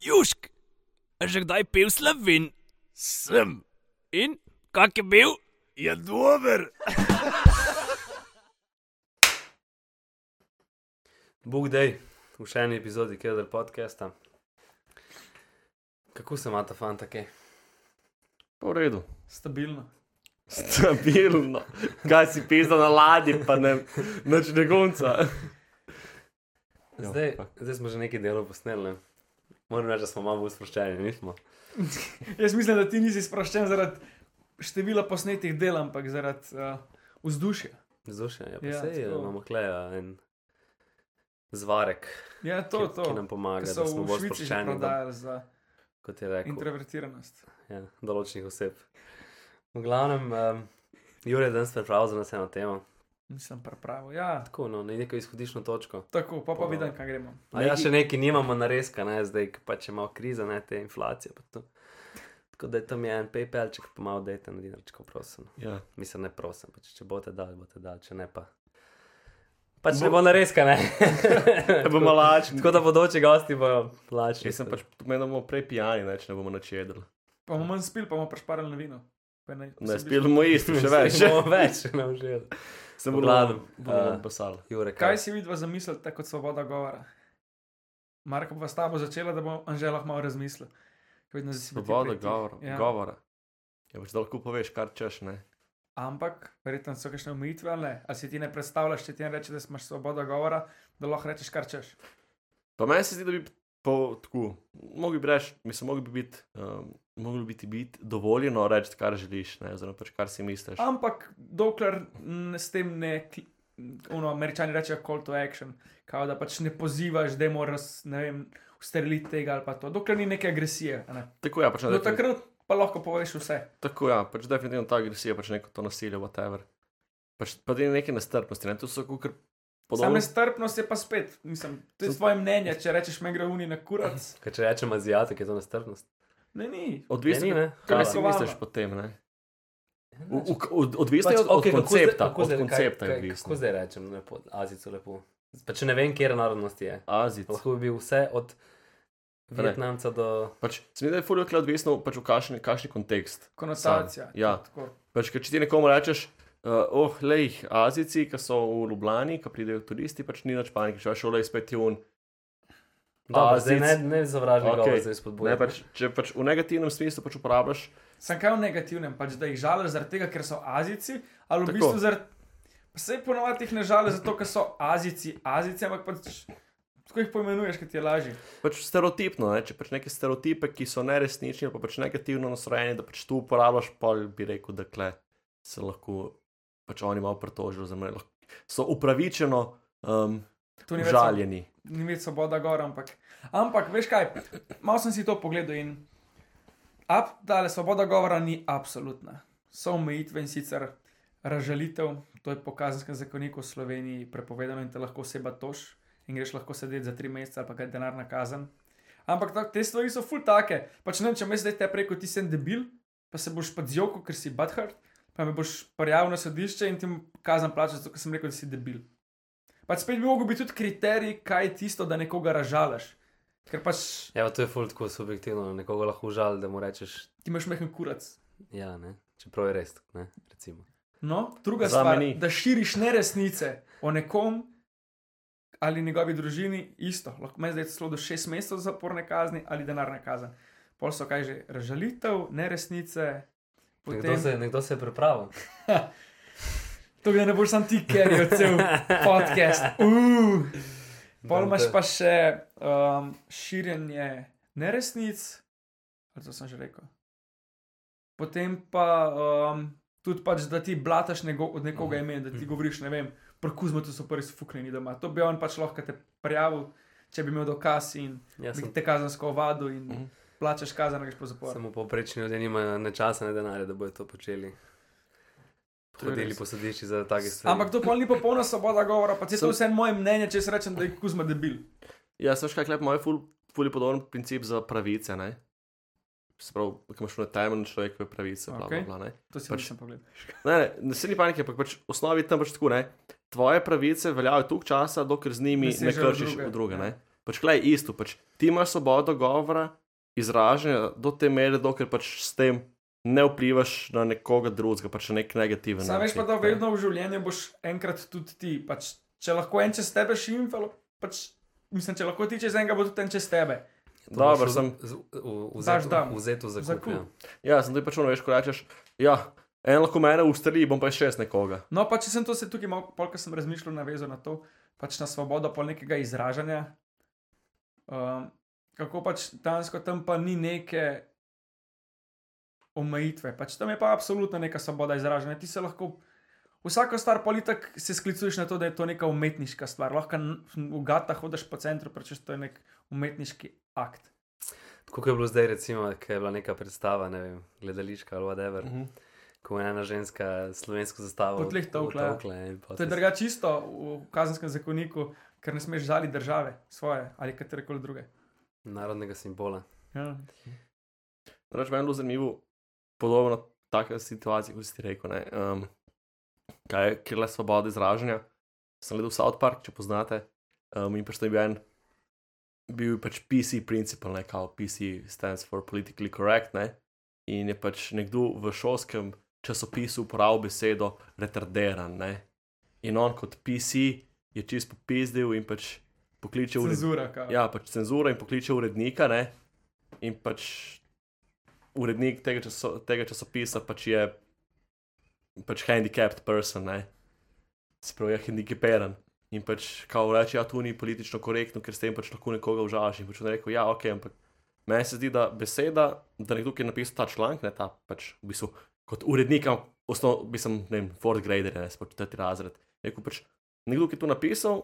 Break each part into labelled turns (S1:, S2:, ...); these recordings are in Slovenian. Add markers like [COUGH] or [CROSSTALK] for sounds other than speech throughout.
S1: Južk, a že kdaj pil slovin?
S2: Sem,
S1: In kak je bil?
S2: je dober.
S3: Bog dej, v še eni epizodi Kedar podcasta. Kako se ima ta fanta, kaj?
S4: V redu.
S5: Stabilno.
S4: Stabilno. Kaj si pisa na ladji, pa ne, noč ne gonca. Jo,
S3: Zdaj,
S4: fuck.
S3: zdaj smo že nekaj delov posneli. ne. Moram reči, da smo malo bolj sproščeni, nismo.
S5: Jaz mislim, da ti nisi sproščen zaradi števila posnetih del, ampak zaradi uh, vzdušja.
S3: Zdušen, ja, pa
S5: Ja,
S3: ja, sej,
S5: tako.
S3: imamo kleja en zvarek,
S5: Ja, to,
S3: ki,
S5: to.
S3: ki nam pomaga,
S5: Ker
S3: da
S5: so
S3: smo
S5: v
S3: bolj
S5: Švici že
S3: sproščeni, da,
S5: prodajali za
S3: kot je rekel
S5: introvertiranost.
S3: ja, določenih oseb. V glavnem, um, Jure je danes pripravil za nas eno temo.
S5: Nisem pripravo. Ja,
S3: Tako, no, ne- neko izhodišno točko.
S5: tako, pa pa
S3: Pa-
S5: vidim, kam gremo.
S3: A ja, še nekaj nimamo nareska, ne, zdaj ko pač je malo kriza, ne te inflacije. pa to. Tako da je tam en PayPal, če pa malo dajte na dinarčko, prosim.
S4: Ja.
S3: Mislim, ne prosim, pač, če boste dali, boste dali, če ne pa. Pač ne bo nareska, ne.
S4: [LAUGHS] Ne bomo lačni.
S3: Tako da bodoči gosti bojo lačni.
S4: Jaz sem pač pomenil prej pijani, ne, če ne bomo načedli.
S5: Pa bomo manj spil, pa bomo prešparili na vino. Pa naj-
S4: Ne,
S5: se bi-
S4: spil bomo
S3: [LAUGHS]
S4: isto, še
S5: [LAUGHS]
S4: več.
S3: Še več, ne že.
S4: Sem
S3: Obladom.
S4: Bomo
S5: Ja.
S3: Eh.
S4: basal.
S3: Jure,
S5: Kaj
S3: kaj si?
S5: si vidva zamislil, tako kot svoboda govora? Marko pa s tabo začela, da bo Anžela malo razmislila. Ker vedno si biti
S2: Svoboda
S5: pri tih.
S2: govora.
S5: Ja.
S2: Ja. govora.
S4: Ja, pač da lahko poveš, kar češ, ne.
S5: Ampak, verjetno so kakšne omejitve, ali ne? Ali si ti ne predstavljaš, če ti ne rečeš, da imaš svobodo govora, da lahko rečeš, kar češ.
S4: Pa meni se zdi, da bi po tako, mogli bi reči, mislim, mogli bi biti, um, mogli bi ti biti dovoljeno reči, kar želiš, ne, oziroma pač kar si misliš.
S5: Ampak, dokler n, s tem ne, kli- n, ono, američani rečejo call to action, kao da pač ne pozivaš, da moraš, ne vem, ustreliti tega ali pa to, dokler ni neke agresije. a Ne?
S4: Tako ja, pač ne.
S5: Do no, takrat pa lahko poveš vse.
S4: Tako ja, pač definitivno ta agresija, pač neko to nasilje, whatever. Pač pa tudi neke nestrpnosti, ne, to so kukar
S5: Podobno. Sam
S4: podobne.
S5: nestrpnost je pa spet, mislim, to je svoje mnenje. Če rečeš, me gre uni na kurac,
S3: Kaj če rečem azijatek, je to nestrpnost.
S5: ne ni.
S4: Odvisno
S3: Ne, ni, ne.
S4: je, kaj si
S5: Hvala.
S4: misliš potem, ne.
S3: Ja,
S4: U-
S3: nič.
S4: u- od- Odvisno je
S3: Pač,
S4: od, od
S3: okej, kako zdaj-
S4: koncepta,
S3: kako zdaj-
S4: od koncepta
S3: kaj-
S4: je
S3: kaj- Kako
S4: odvisno.
S3: zdaj rečem, lepo, Azico lepo. Pa če ne vem, kje narodnosti je.
S4: Azic.
S3: Lahko bi bil vse od
S4: ne.
S3: Vietnamca do.
S4: Pač, se mi da je fuljo kle odvisno, pač v kakšen, kakšen kontekst.
S5: Konotacija.
S4: Ja.
S5: Tako.
S4: Pač, ker če ti nekomu rečeš, uh, oh, lej, Azici, ki so v Ljubljani, ki pridejo turisti, pač ni nič panike, če šole izpet je un.
S3: Dobro, zdaj ne,
S4: Azic.
S3: ne zavražim okay. govor,
S4: Okej.
S3: zdaj
S4: Ne,
S3: spodbujam.
S4: pač, če pač v negativnem smislu pač uporabljaš,
S5: Sem kaj v negativnem, pač, da jih žališ zaradi tega, ker so azici,
S4: Tako.
S5: ali v Tako. bistvu zaradi. Vse ponovadi jih ne žališ zato, ker so azici, azici, ampak pač. Tako jih poimenuješ, ker ti je lažje.
S4: pač stereotipno, ne, če pač neke stereotipe, ki so neresnični, ali pa pač negativno nastrojeni, da pač tu uporabljaš, pa bi rekel, da kle se lahko pač oni malo pritožijo, oziroma lahko- so upravičeno um,
S5: To ni več samo-
S4: žaljeni.
S5: ni imeti svoboda gor, ampak. Ampak, veš kaj, malo sem si to pogledal in ab, dale, svoboda govora ni absolutna. So omejitve in sicer razžalitev, to je po kazenskem zakoniku v Sloveniji prepovedano in te lahko oseba tož in greš lahko sedeti za tri mesece ali pa kaj denarna kazen. Ampak tak, te stvari so ful take. Pač ne vem, če me zdaj te preko ti sem debil, pa se boš podzjoko, ker si butthurt, pa me boš prijavil na sodišče in ti bom kazen plačal, zato ker sem rekel, da si debil. Pač spet bi mogel biti tudi kriterij, kaj je tisto, da nekoga ražalaš. Ker pač
S3: Ja, to je ful tako subjektivno, nekoga lahko žal, da mu rečeš,
S5: ti imaš mehen kurac.
S3: ja, ne. Čeprav je res, ne, recimo.
S5: No, druga
S4: Za
S5: stvar
S4: me
S5: je,
S4: ni.
S5: da širiš neresnice o nekom ali njegovi družini, isto. Lahko me zdaj celo do šest mesecev zaporne kazni ali denarne kazen. Pol so kaj že razžalitev, neresnice.
S3: Nekdo
S5: Potem,
S3: se, nekdo se je pripravil.
S5: To da ne boš sam ti, ker je [LAUGHS] cel
S3: [LAUGHS]
S5: podcast. Uh. Pol
S3: Da,
S5: imaš
S3: da.
S5: pa še um, širjenje neresnic, ali to sem že rekel. Potem pa um, tudi pač, da ti blataš nego, od nekoga ime, da ti govoriš, ne vem, prkuzmo to so prvi sfuknjeni doma. To bi on pač lahko te prijavil, če bi imel dokaz in
S3: Ja,
S5: bi
S3: sem,
S5: te kazensko ovadil in
S4: Mhm.
S5: plačaš kazen, greš po zaporu.
S3: samo povprečni ljudje nimajo ne časa, ne denarja, da bodo to počeli.
S5: je
S3: Hodili
S5: res.
S3: po sodišči za take stvari.
S5: Ampak to pa ni popolna svoboda govora, pa če to vse moje mnenje, če jaz rečem, da je kuzma debil.
S4: Ja, se veš, kaj klep, moj ful, ful je podoben princip za pravice, ne? Sprav, ki imaš na temelj človekove pravice, bla, okay.
S5: Okej.
S4: bla, bla, ne?
S5: To si
S4: Pač-
S5: pač sem pogledal.
S4: Ne, ne, ne se ni panike, ampak pač v osnovi tam pač tako, ne? Tvoje pravice veljajo toliko časa, dokler z njimi ne,
S5: Ne
S4: ne
S5: sežejo v
S4: kršiš
S5: druge,
S4: v druge,
S5: ja.
S4: ne? Pač klej isto, pač ti imaš svobodo govora, izražanja do te mere, dokler pač s tem ne vplivaš na nekoga drugega, pač na nek negativen
S5: Sam veš pa, da
S4: ne.
S5: vedno v življenju boš enkrat tudi ti. Pač, če lahko en čez tebe šimfalo, pač, mislim, če lahko ti čez enega, bo tudi en čez tebe.
S4: Dobro, sem-
S5: Daš dam.
S3: Vzeto za
S5: Za
S3: kup.
S5: kup.
S3: ja.
S4: Ja, sem tudi pač ono, veš, ko rečeš, ja, en lahko mene ustreli, bom pa še jaz nekoga.
S5: No, pa če sem to se tukaj malo, polk sem razmišljal, navezal na to, pač na svobodo pol nekega izražanja. Um, kako pač dansko tam pa ni neke omejitve, pač tam je pa absolutno neka svoboda izražanja. Ti se lahko, vsako stvar politik se sklicuješ na to, da je to neka umetniška stvar. Lahko n- v gata hodiš po centru, pač češ to je nek umetniški akt.
S3: Tako kot je bilo zdaj, recimo, ko je bila neka predstava, ne vem, gledališka ali whatever, uh
S4: Mhm.
S3: -huh. ko je ena ženska slovensko zastavo
S5: Po tleh tolkla, ja. To je
S3: drugače.
S5: drugače čisto v kazenskem zakoniku, ker ne smeš žali države svoje ali katerekoli druge.
S3: Narodnega simbola.
S5: Ja.
S4: Reč meni je bilo zanimivo, podobno taka situacija, kot si ti rekel. Ne, um, kaj je, kjer le svoboda izražanja. Sem gledal South Park, če poznate, um, in pač to je bil en, bil je pač PC principal, ne kao PC stands for politically correct, ne. In je pač nekdo v šolskem časopisu uporabil besedo retarderan, ne. In on kot PC je čist popizdil in pač pokličal
S5: Cenzura, kaj.
S4: Ja, pač cenzura in pokliče urednika, ne? in pač urednik tega, časo, tega časopisa pač je pač handicapped person, ne? se pravi, je handicapiran. In pač, kao reče, ja, to ni politično korektno, ker s tem pač lahko nekoga užalaš. In pač on je rekel, ja, ok, ampak meni se zdi, da beseda, da nekdo, ki je napisal ta članek, ne ta pač v bistvu kot urednik, ampak osnov, mislim, ne vem, fourth grader, ne, se pač četrti razred. Je Rekel pač, nekdo, ki je to napisal,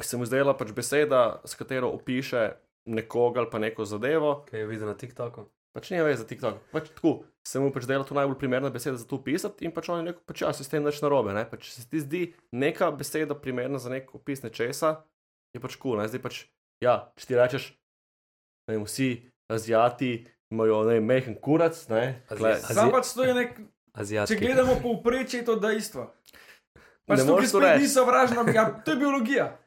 S4: se mu zdela pač beseda, s katero opiše nekoga ali pa neko zadevo,
S3: Kaj je videl na TikToku?
S4: pač ne veš za TikTok. Pač tako se mu pač zdela to najbolj primerna beseda za to opisati in pač on je rekel, pač ja, se s tem nič narobe. Ne? Pač če se ti zdi neka beseda primerna za nek opis nečesa, je pač kul. Cool, ne? Zdaj pač, ja, če ti rečeš, ne vem, vsi azijati imajo, ne vem, mehen kurac, ne. Tle,
S3: Azijat.
S5: Sam
S3: Azi-
S5: pač to je nek,
S3: Azijatski.
S5: če gledamo povprečje, je to dejstvo. Pač
S4: Ne
S5: tukaj
S4: moreš to
S5: spet
S4: reči.
S5: ni sovražno, ja, to je
S4: [LAUGHS]
S5: biologija.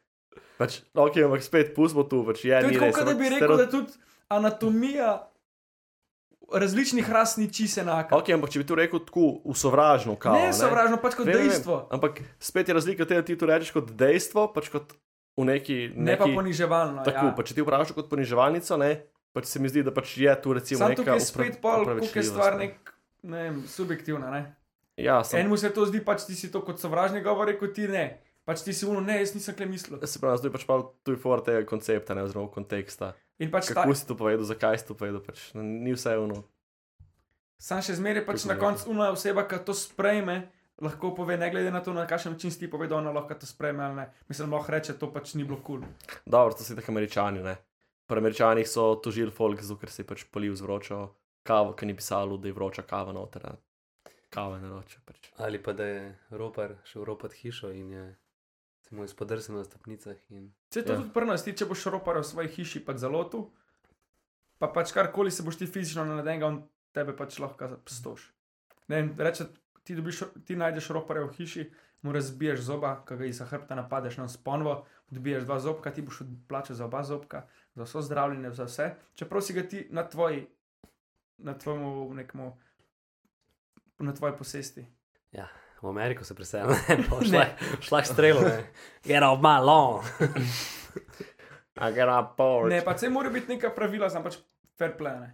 S4: pač, ok, ampak spet pustimo tu, pač je,
S5: To je
S4: ni
S5: tako,
S4: res.
S5: kot da
S4: ampak
S5: bi rekel,
S4: stereo-
S5: da tudi anatomija različnih ras ni čisto enaka.
S4: Ok, ampak če bi to rekel tako, usovražno, kao.
S5: Ne, sovražno, pač kot
S4: Vem, vem,
S5: dejstvo,
S4: Ampak spet je razlika v tem, da ti to rečeš kot dejstvo, pač kot v neki.
S5: ne pa
S4: neki
S5: poniževalno.
S4: Tako,
S5: ja.
S4: pa če ti vprašaš kot poniževalnico, ne, pač se mi zdi, da pač je tu recimo
S5: Sam
S4: neka
S5: tukaj je spet
S4: upra-
S5: pol, koliko je
S4: opravičljivost,
S5: stvar
S4: ne.
S5: nek, ne vem, subjektivna. Ne?
S4: Ja, sem,
S5: Enemu se to zdi, pač ti si to kot sovražni govor, kot ti ne. Pač ti si uno, ne, jaz nisem kle mislil.
S4: se pravi, zdaj pač pa tu je for tega koncepta, ne, oziroma konteksta.
S5: In pač ta,
S4: Kako si to povedal, zakaj si to povedal, pač n- ni vse ono.
S5: Sam še zmeraj pač
S4: Kako
S5: na
S4: je?
S5: koncu ena oseba, ki to sprejme, lahko pove, ne glede na to, na kakšen način si ti povedal, ona lahko to sprejme ali ne. Mislim, lahko reče, to pač ni bilo kul. Cool.
S4: Dobro, to si tako američani, ne. Pri američanih so tožili folk, zato ker si pač polil z vročo kavo, ker ni pisalo, da je vroča kava noter. ne. Kava je naroče. Pač.
S3: Ali pa da je ropar šel ropat hišo in je se mu izpodrsnil na stopnicah. In...
S5: Se to
S4: Ja.
S5: yeah. tudi prnas, ti če boš ropar v svoji hiši, pač zalotu, pa pač karkoli se boš ti fizično nadenga, on tebe pač lahko stoš. Ne vem, reče, ti, dobiš, ti najdeš roparja v hiši, mu razbiješ zoba, ki ga iz hrbta napadeš na sponvo, odbiješ dva zobka, ti boš plačal za oba zobka, za vso zdravljenje, za vse. Čeprav si ga ti na tvoji, na tvojemu nekemu, na tvoji posesti.
S3: V Ameriko se preselil, [LAUGHS] ne, pa šla, šla strelo, ne. Get off my
S5: [LAUGHS]
S3: lawn.
S4: I get up for
S5: Ne,
S4: it.
S5: pa se mora biti neka pravila, sem pač fair play. ne.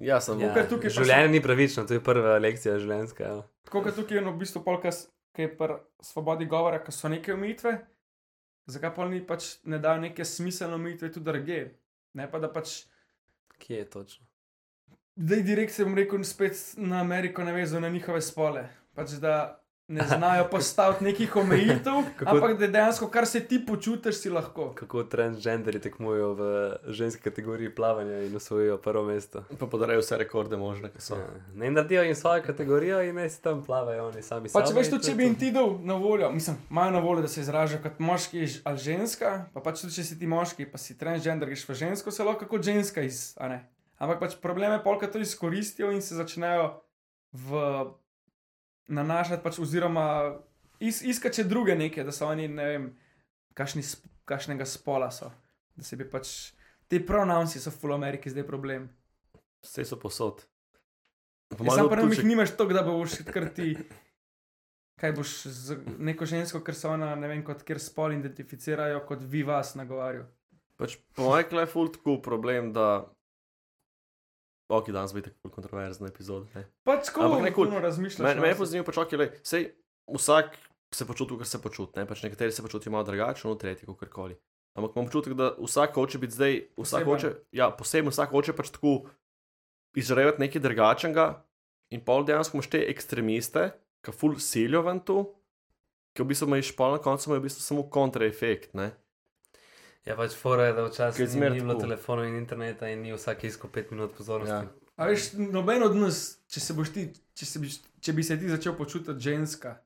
S4: Ja, sem.
S3: Ja,
S5: Tukaj- tukaj pa so-
S3: življenje ni pravično, to je prva lekcija življenjska. Ja.
S5: Tako kot tukaj je no, v bistvu polkas, ki je pri svobodi govora, ki so neke omejitve, zakaj pa ni pač ne dajo neke smiselne omejitve tudi druge. Ne pa da pač,
S3: Kje je točno?
S5: da je direkt se bom rekel, spet na Ameriko navezal na njihove spole. Pač da ne znajo postaviti nekih omejitev,
S3: Kako-
S5: ampak da dejansko, kar se ti počutiš, si lahko.
S3: Kako transgenderi tekmujejo v ženski kategoriji plavanja in osvojijo prvo mesto.
S4: Pa podarejo vse rekorde možne, ki so.
S3: Ja. Ne naredijo jim svojo kategorijo in naj si tam plavajo, oni sami
S5: Pač
S3: sami.
S5: veš,
S3: in
S5: tudi
S3: to
S5: če
S3: je
S5: bi
S3: to.
S5: jim ti dal na voljo, mislim, imajo na voljo, da se izražajo kot moški ž- ali ženska, pa pač tudi če si ti moški, pa si transgender, greš v žensko, se lahko kot ženska iz. a ne. Ampak pač problem je, polka to izkoristijo in se začnejo v, nanašati, pač, oziroma is, iskati še druge neke, da so oni ne vem, kašni, sp- kašnega spola so. Da se bi pač ti pronounci so v Ameriki zdaj problem.
S4: Vse so posod. Po
S5: Ja,
S4: mojem
S5: Sam pa nam
S4: občutku,
S5: jih nimaš toliko, da boš kar ti. Kaj boš z neko žensko, ker se ona, ne vem, kot kjer spol identificirajo, kot vi vas nagovarjajo.
S4: pač, po mojem je ful tako problem, da. Ok, danes bi tako kontroverzna epizoda. ne.
S5: Pač ko
S4: Ampak ne kul.
S5: razmišljaš.
S4: Mene
S5: no,
S4: me je
S5: se-
S4: pa zanimivo, pač ok, le, sej vsak se počuti, kar se počuti. Ne? Pač nekateri se počutijo malo drugače, no tretji, kako koli. Ampak imam občutek, da vsak hoče biti zdaj, vsak
S5: Poseben.
S4: hoče, ja, posebno vsak hoče pač tako izrevati nekaj drugačnega. In pol dejansko imaš te ekstremiste, ki ful silijo ven tu, ki v bistvu imaš pol na koncu, imajo v bistvu samo kontraefekt. ne.
S3: Ja, pač fora je, da
S4: Ker
S3: včasih
S4: zmer
S3: ni bilo
S4: tako.
S3: telefonov in interneta in ni vsak iskal pet minut pozornosti.
S4: Ja.
S5: A veš, noben od nas, če, se boš ti, če, se bi, če bi se ti začel počutiti ženska,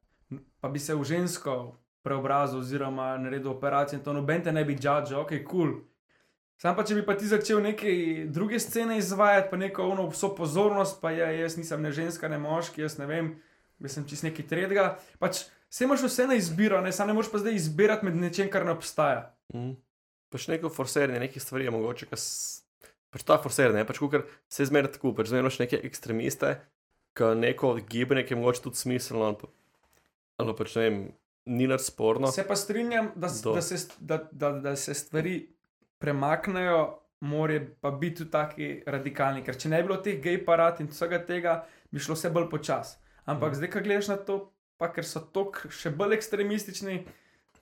S5: pa bi se v žensko preobrazil, oziroma naredil operacijo, in to noben te ne bi judžal, ok, kul. Cool. Sam pa, če bi pa ti začel neke druge scene izvajati, pa neko ono vso pozornost, pa ja, jaz nisem ne ženska, ne moški, jaz ne vem, jaz sem čist neki tredga. Pač, se imaš vse na izbiro, ne, sam ne moreš pa zdaj izbirati med nečem, kar ne obstaja.
S4: Mm. Pač neko forseranje nekih stvari je mogoče, ker pač ta forseranje, je pač kar se zmeraj tako, pač zmeraj imaš neke ekstremiste, ki neko gibanje, ki je mogoče tudi smiselno, ali pa, ali pač ne vem, ni nič sporno.
S5: Se pa strinjam, da, s-
S4: No. Do.
S5: da, se, st- da, da, da se stvari premaknejo, more pa biti tudi taki radikalni. Ker če ne bi bilo teh gej parad in vsega tega, bi šlo vse bolj počasi. Ampak mm. zdaj, ko gledaš na to, pa ker so tok še bolj ekstremistični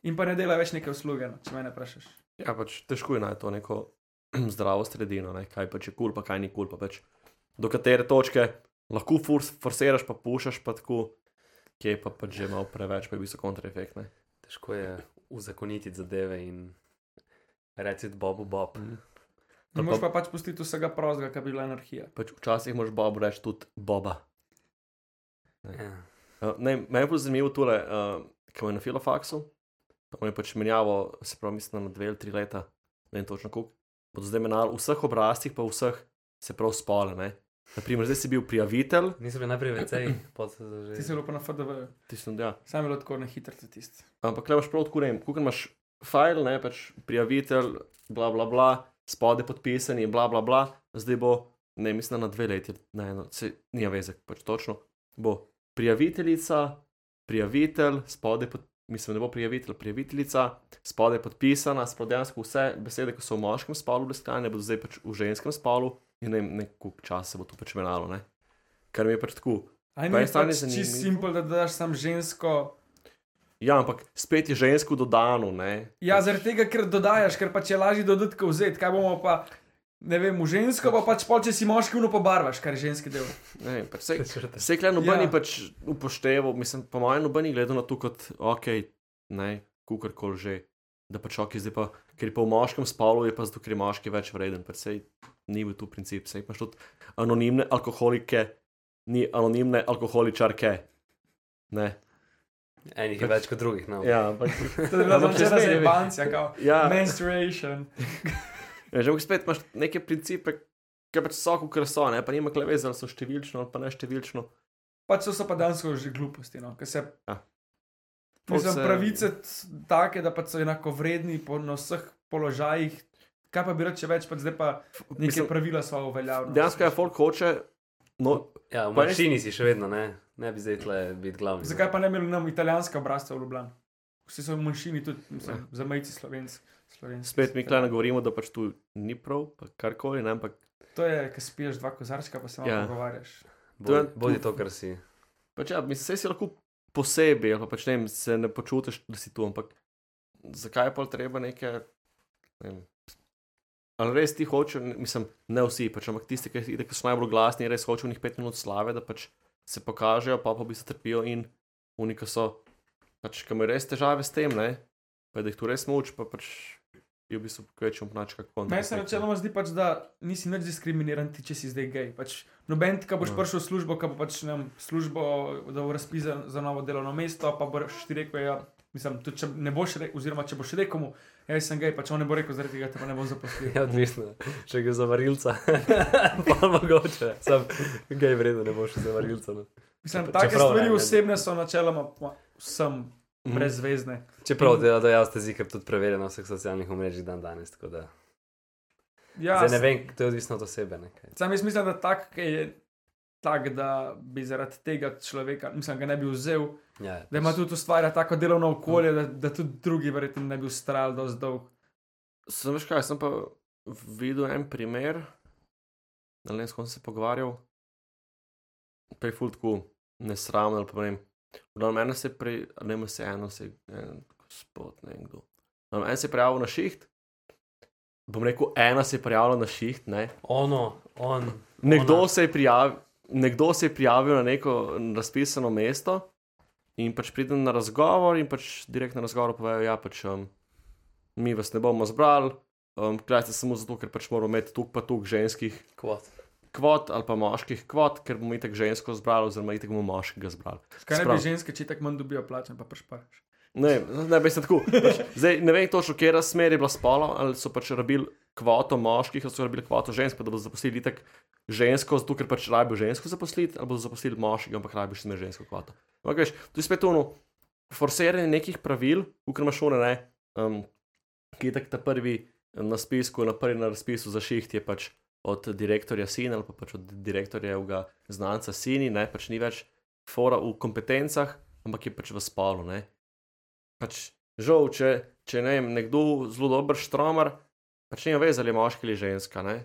S5: in pa ne dela več neke usluge, no, če me ne vprašaš.
S4: Ja, pač težko je najti to neko [CLEARS THROAT] zdravo sredino, ne? kaj pač je kul, pa kaj ni kul, pa pač do katere točke lahko furs, forseraš, pa pušaš, pa tako, ki je pa pač že malo preveč, pa je v bistvu kontraefekt. ne.
S3: Težko je uzakoniti zadeve in reči Bobu Bob.
S5: Ne
S4: Ali
S5: moreš
S4: pa-
S5: pa pač pustiti vsega prozga, kar bi bila anarhija.
S4: Pač včasih moraš Bob reči tudi Boba.
S3: Ja.
S4: Uh, Ne, me je bilo zanimivo tole, uh, ko je na filofaksu, pa mu je pač menjavo, se pravi, mislim, na dve ali tri leta, ne vem točno koliko, bodo zdaj menjali v vseh obrazcih, pa vseh, se pravi, spole. Ne? Naprimer, zdaj si bil prijavitelj,
S3: Nisem bil najprej vecej, potem sem se
S5: Ti si
S3: že.
S5: bilo pa na FDV,
S4: ti si ja.
S5: sam je bilo tako na hitro za tiste.
S4: Ampak le imaš prav tako, ne vem, koliko imaš file, ne pač prijavitelj, bla bla bla, spode podpisani, bla bla bla, zdaj bo, ne mislim, na dve leti, na eno, se, ni veze, pač točno, bo prijaviteljica, prijavitelj, spode pod, mislim, ne bo prijavitelj, prijaviteljica, spode podpisana, spode dejansko vse besede, ki so v moškem spolu iskane, bodo zdaj pač v ženskem spolu in ne vem, koliko časa se bo to pač menalo, ne. Kar mi je pač tako.
S5: Ali
S4: Pa
S5: ni
S4: je stanje
S5: pač čist
S4: zanimivo.
S5: simpel, da daš sam žensko
S4: Ja, ampak spet je žensko dodano, ne.
S5: Ja, zaradi tega, ker dodajaš, ker pač je lažje dodati, kot vzeti. Kaj bomo pa, ne vem, v žensko, pa pač pol, če si moški, uno pobarvaš, kar je ženski del.
S4: Ne, vem, pač sej, Vse klej noben
S5: Ja.
S4: je pač upošteval, mislim, po mojem noben je gledal na to kot ok, ne, kukorkoli že. Da pač ok, zdaj pa, ker je pa v moškem spolu, je pa zato, ker je moški več vreden. Predvsej ni bil tu princip, sej imaš tudi anonimne alkoholike, ni anonimne alkoholičarke. Ne.
S3: Enih je več kot drugih. No.
S4: Ja, ampak. [LAUGHS]
S5: To je bila
S4: Ampak če
S5: začela
S4: zmeraj veš.
S5: zrebancija, kao.
S4: Ja,
S5: Menstruation.
S4: ja, že ampak spet imaš neke principe, ki pač so, kot so, ne, pa nima kleveza, ali so številčno ali pa neštevilčno.
S5: Pač so, so pa dejansko že gluposti, no, ker se.
S4: Ja. Pol
S5: Mislim,
S4: se-
S5: pravice t- take, da pač so enako vredni po, na vseh položajih. Kaj pa bi reče več, pač zdaj pa neke
S4: Mislim,
S5: pravila no, so uveljavljena.
S4: Dejansko je folk hoče, no,
S3: Ja, v
S4: Pa res-
S3: manjšini si še vedno, ne, ne bi zdaj tle biti glavni.
S5: Zakaj pa ne bi imeli nam italijanske obrazce v Ljubljani? Vsi so v manjšini, tudi mislim, za majici slovenci.
S4: Spet mi klajno govorimo, da pač tu ni prav, pa karkoli, ne, ampak
S5: To je, ki spiješ dva kozarčka, pa se malo
S4: Ja.
S5: ja. pogovarjaš.
S3: Bodi,
S4: To je-
S3: bodi to, kar si.
S4: pač, ja, mislim, saj si lahko posebej, ali pa pač ne vem, se ne počutiš, da si tu, ampak zakaj je pa treba neke. Ne vem, ali res ti hoče, mislim, ne vsi, pač, ampak tisti, ki, itak so najbolj glasni, res hoče v njih pet minut slave, da pač se pokažejo, pa pa v bistvu trpijo in unika so, pač, ki imajo res težave s tem, ne, pa da jih tu res muči, pa pač je v bistvu večji umnač kot konec.
S5: Meni se načeloma zdi, pač, da nisi nič diskriminiran, ti, če si zdaj gej. Pač, noben, ki boš
S3: No.
S4: Ja.
S5: prišel v službo, ki bo pač nam službo, da bo razpis za, za novo delovno mesto, pa boš ti rekel, ja, mislim, tudi če ne boš rekel, oziroma če boš rekel mu, ja, jaz sem gej, pač on ne bo rekel, zaradi tega te pa ne bom zaposlil.
S3: [LAUGHS] Ja, odvisno. Če gre za varilca, [LAUGHS] pa mogoče. Sam, kaj je vredno, ne boš za varilca. No.
S5: Mislim,
S3: Čeprav
S5: take
S3: ne,
S5: stvari
S3: ne. Mhm.
S5: osebne so načeloma pa, vsem brezvezne.
S3: Čeprav dela, da jaz te zikam tudi preverjeno na vseh socialnih omrežjih dan danes. tako Da.
S5: Ja,
S3: Zdaj ne vem, to je odvisno od osebe. ne, kaj.
S5: Sam jaz mislim, da tak, ki je tak, da bi zaradi tega človeka, mislim, ga ne bi vzel,
S3: Ja, ja,
S5: da ima
S3: pač.
S5: tudi ustvarja tako delovno okolje, da, da tudi drugi verjetno ne bi ustrajali dosti dolg.
S4: Sem veš kaj, sem pa videl en primer, da ne vem, s kom sem se pogovarjal, pa je fultku nesramno ali pa ne vem. Glavno mene se je pri, ne vem, se je eno, se je en gospod, ne vem kdo. Glavno, en se je prijavil na šiht, bom rekel, ena se je prijavila na šiht, ne.
S3: Ono, on.
S4: Nekdo
S3: ona.
S4: se, je prijavi, nekdo se je prijavil na neko razpisano mesto in pač pridem na razgovor, in pač direkt na razgovor povejo, da ja, pač, um, mi vas ne bomo zbrali, um, klajte samo zato, ker pač moramo imeti tu pa tu ženskih
S3: Kvot.
S4: kvot ali pa moških kvot, ker bomo itek žensko zbrali, oziroma itek bomo moškega zbrali.
S5: Kaj ne
S4: Sprav-
S5: bi ženske, če tako manj dobijo plačen, pa prešparaš.
S4: Ne, ne, ne, tako. Pač, zdaj, ne vem točno, kje razmer je bila spolo, ali so pač rabili kvoto moških, ali so rabili kvoto žensk, pa da bodo zaposlili tako žensko, zato ker pač rabijo žensko zaposliti, ali bodo zaposlili moškega, ampak rabijo še zmeraj žensko kvoto. Ampak veš, tu je spet ono, forsiranje nekih pravil, ukramašone, ne, um, ki je tako ta prvi na spisku, na prvi na razpisu za šiht je pač od direktorja sin ali pa pač od direktorjevega znanca sini, ne, pač ni več fora v kompetencah, ampak je pač v spolu, ne pač žal, če, če ne vem, nekdo zelo dober štromar, pač ne veš, ali je moški ali ženska, ne.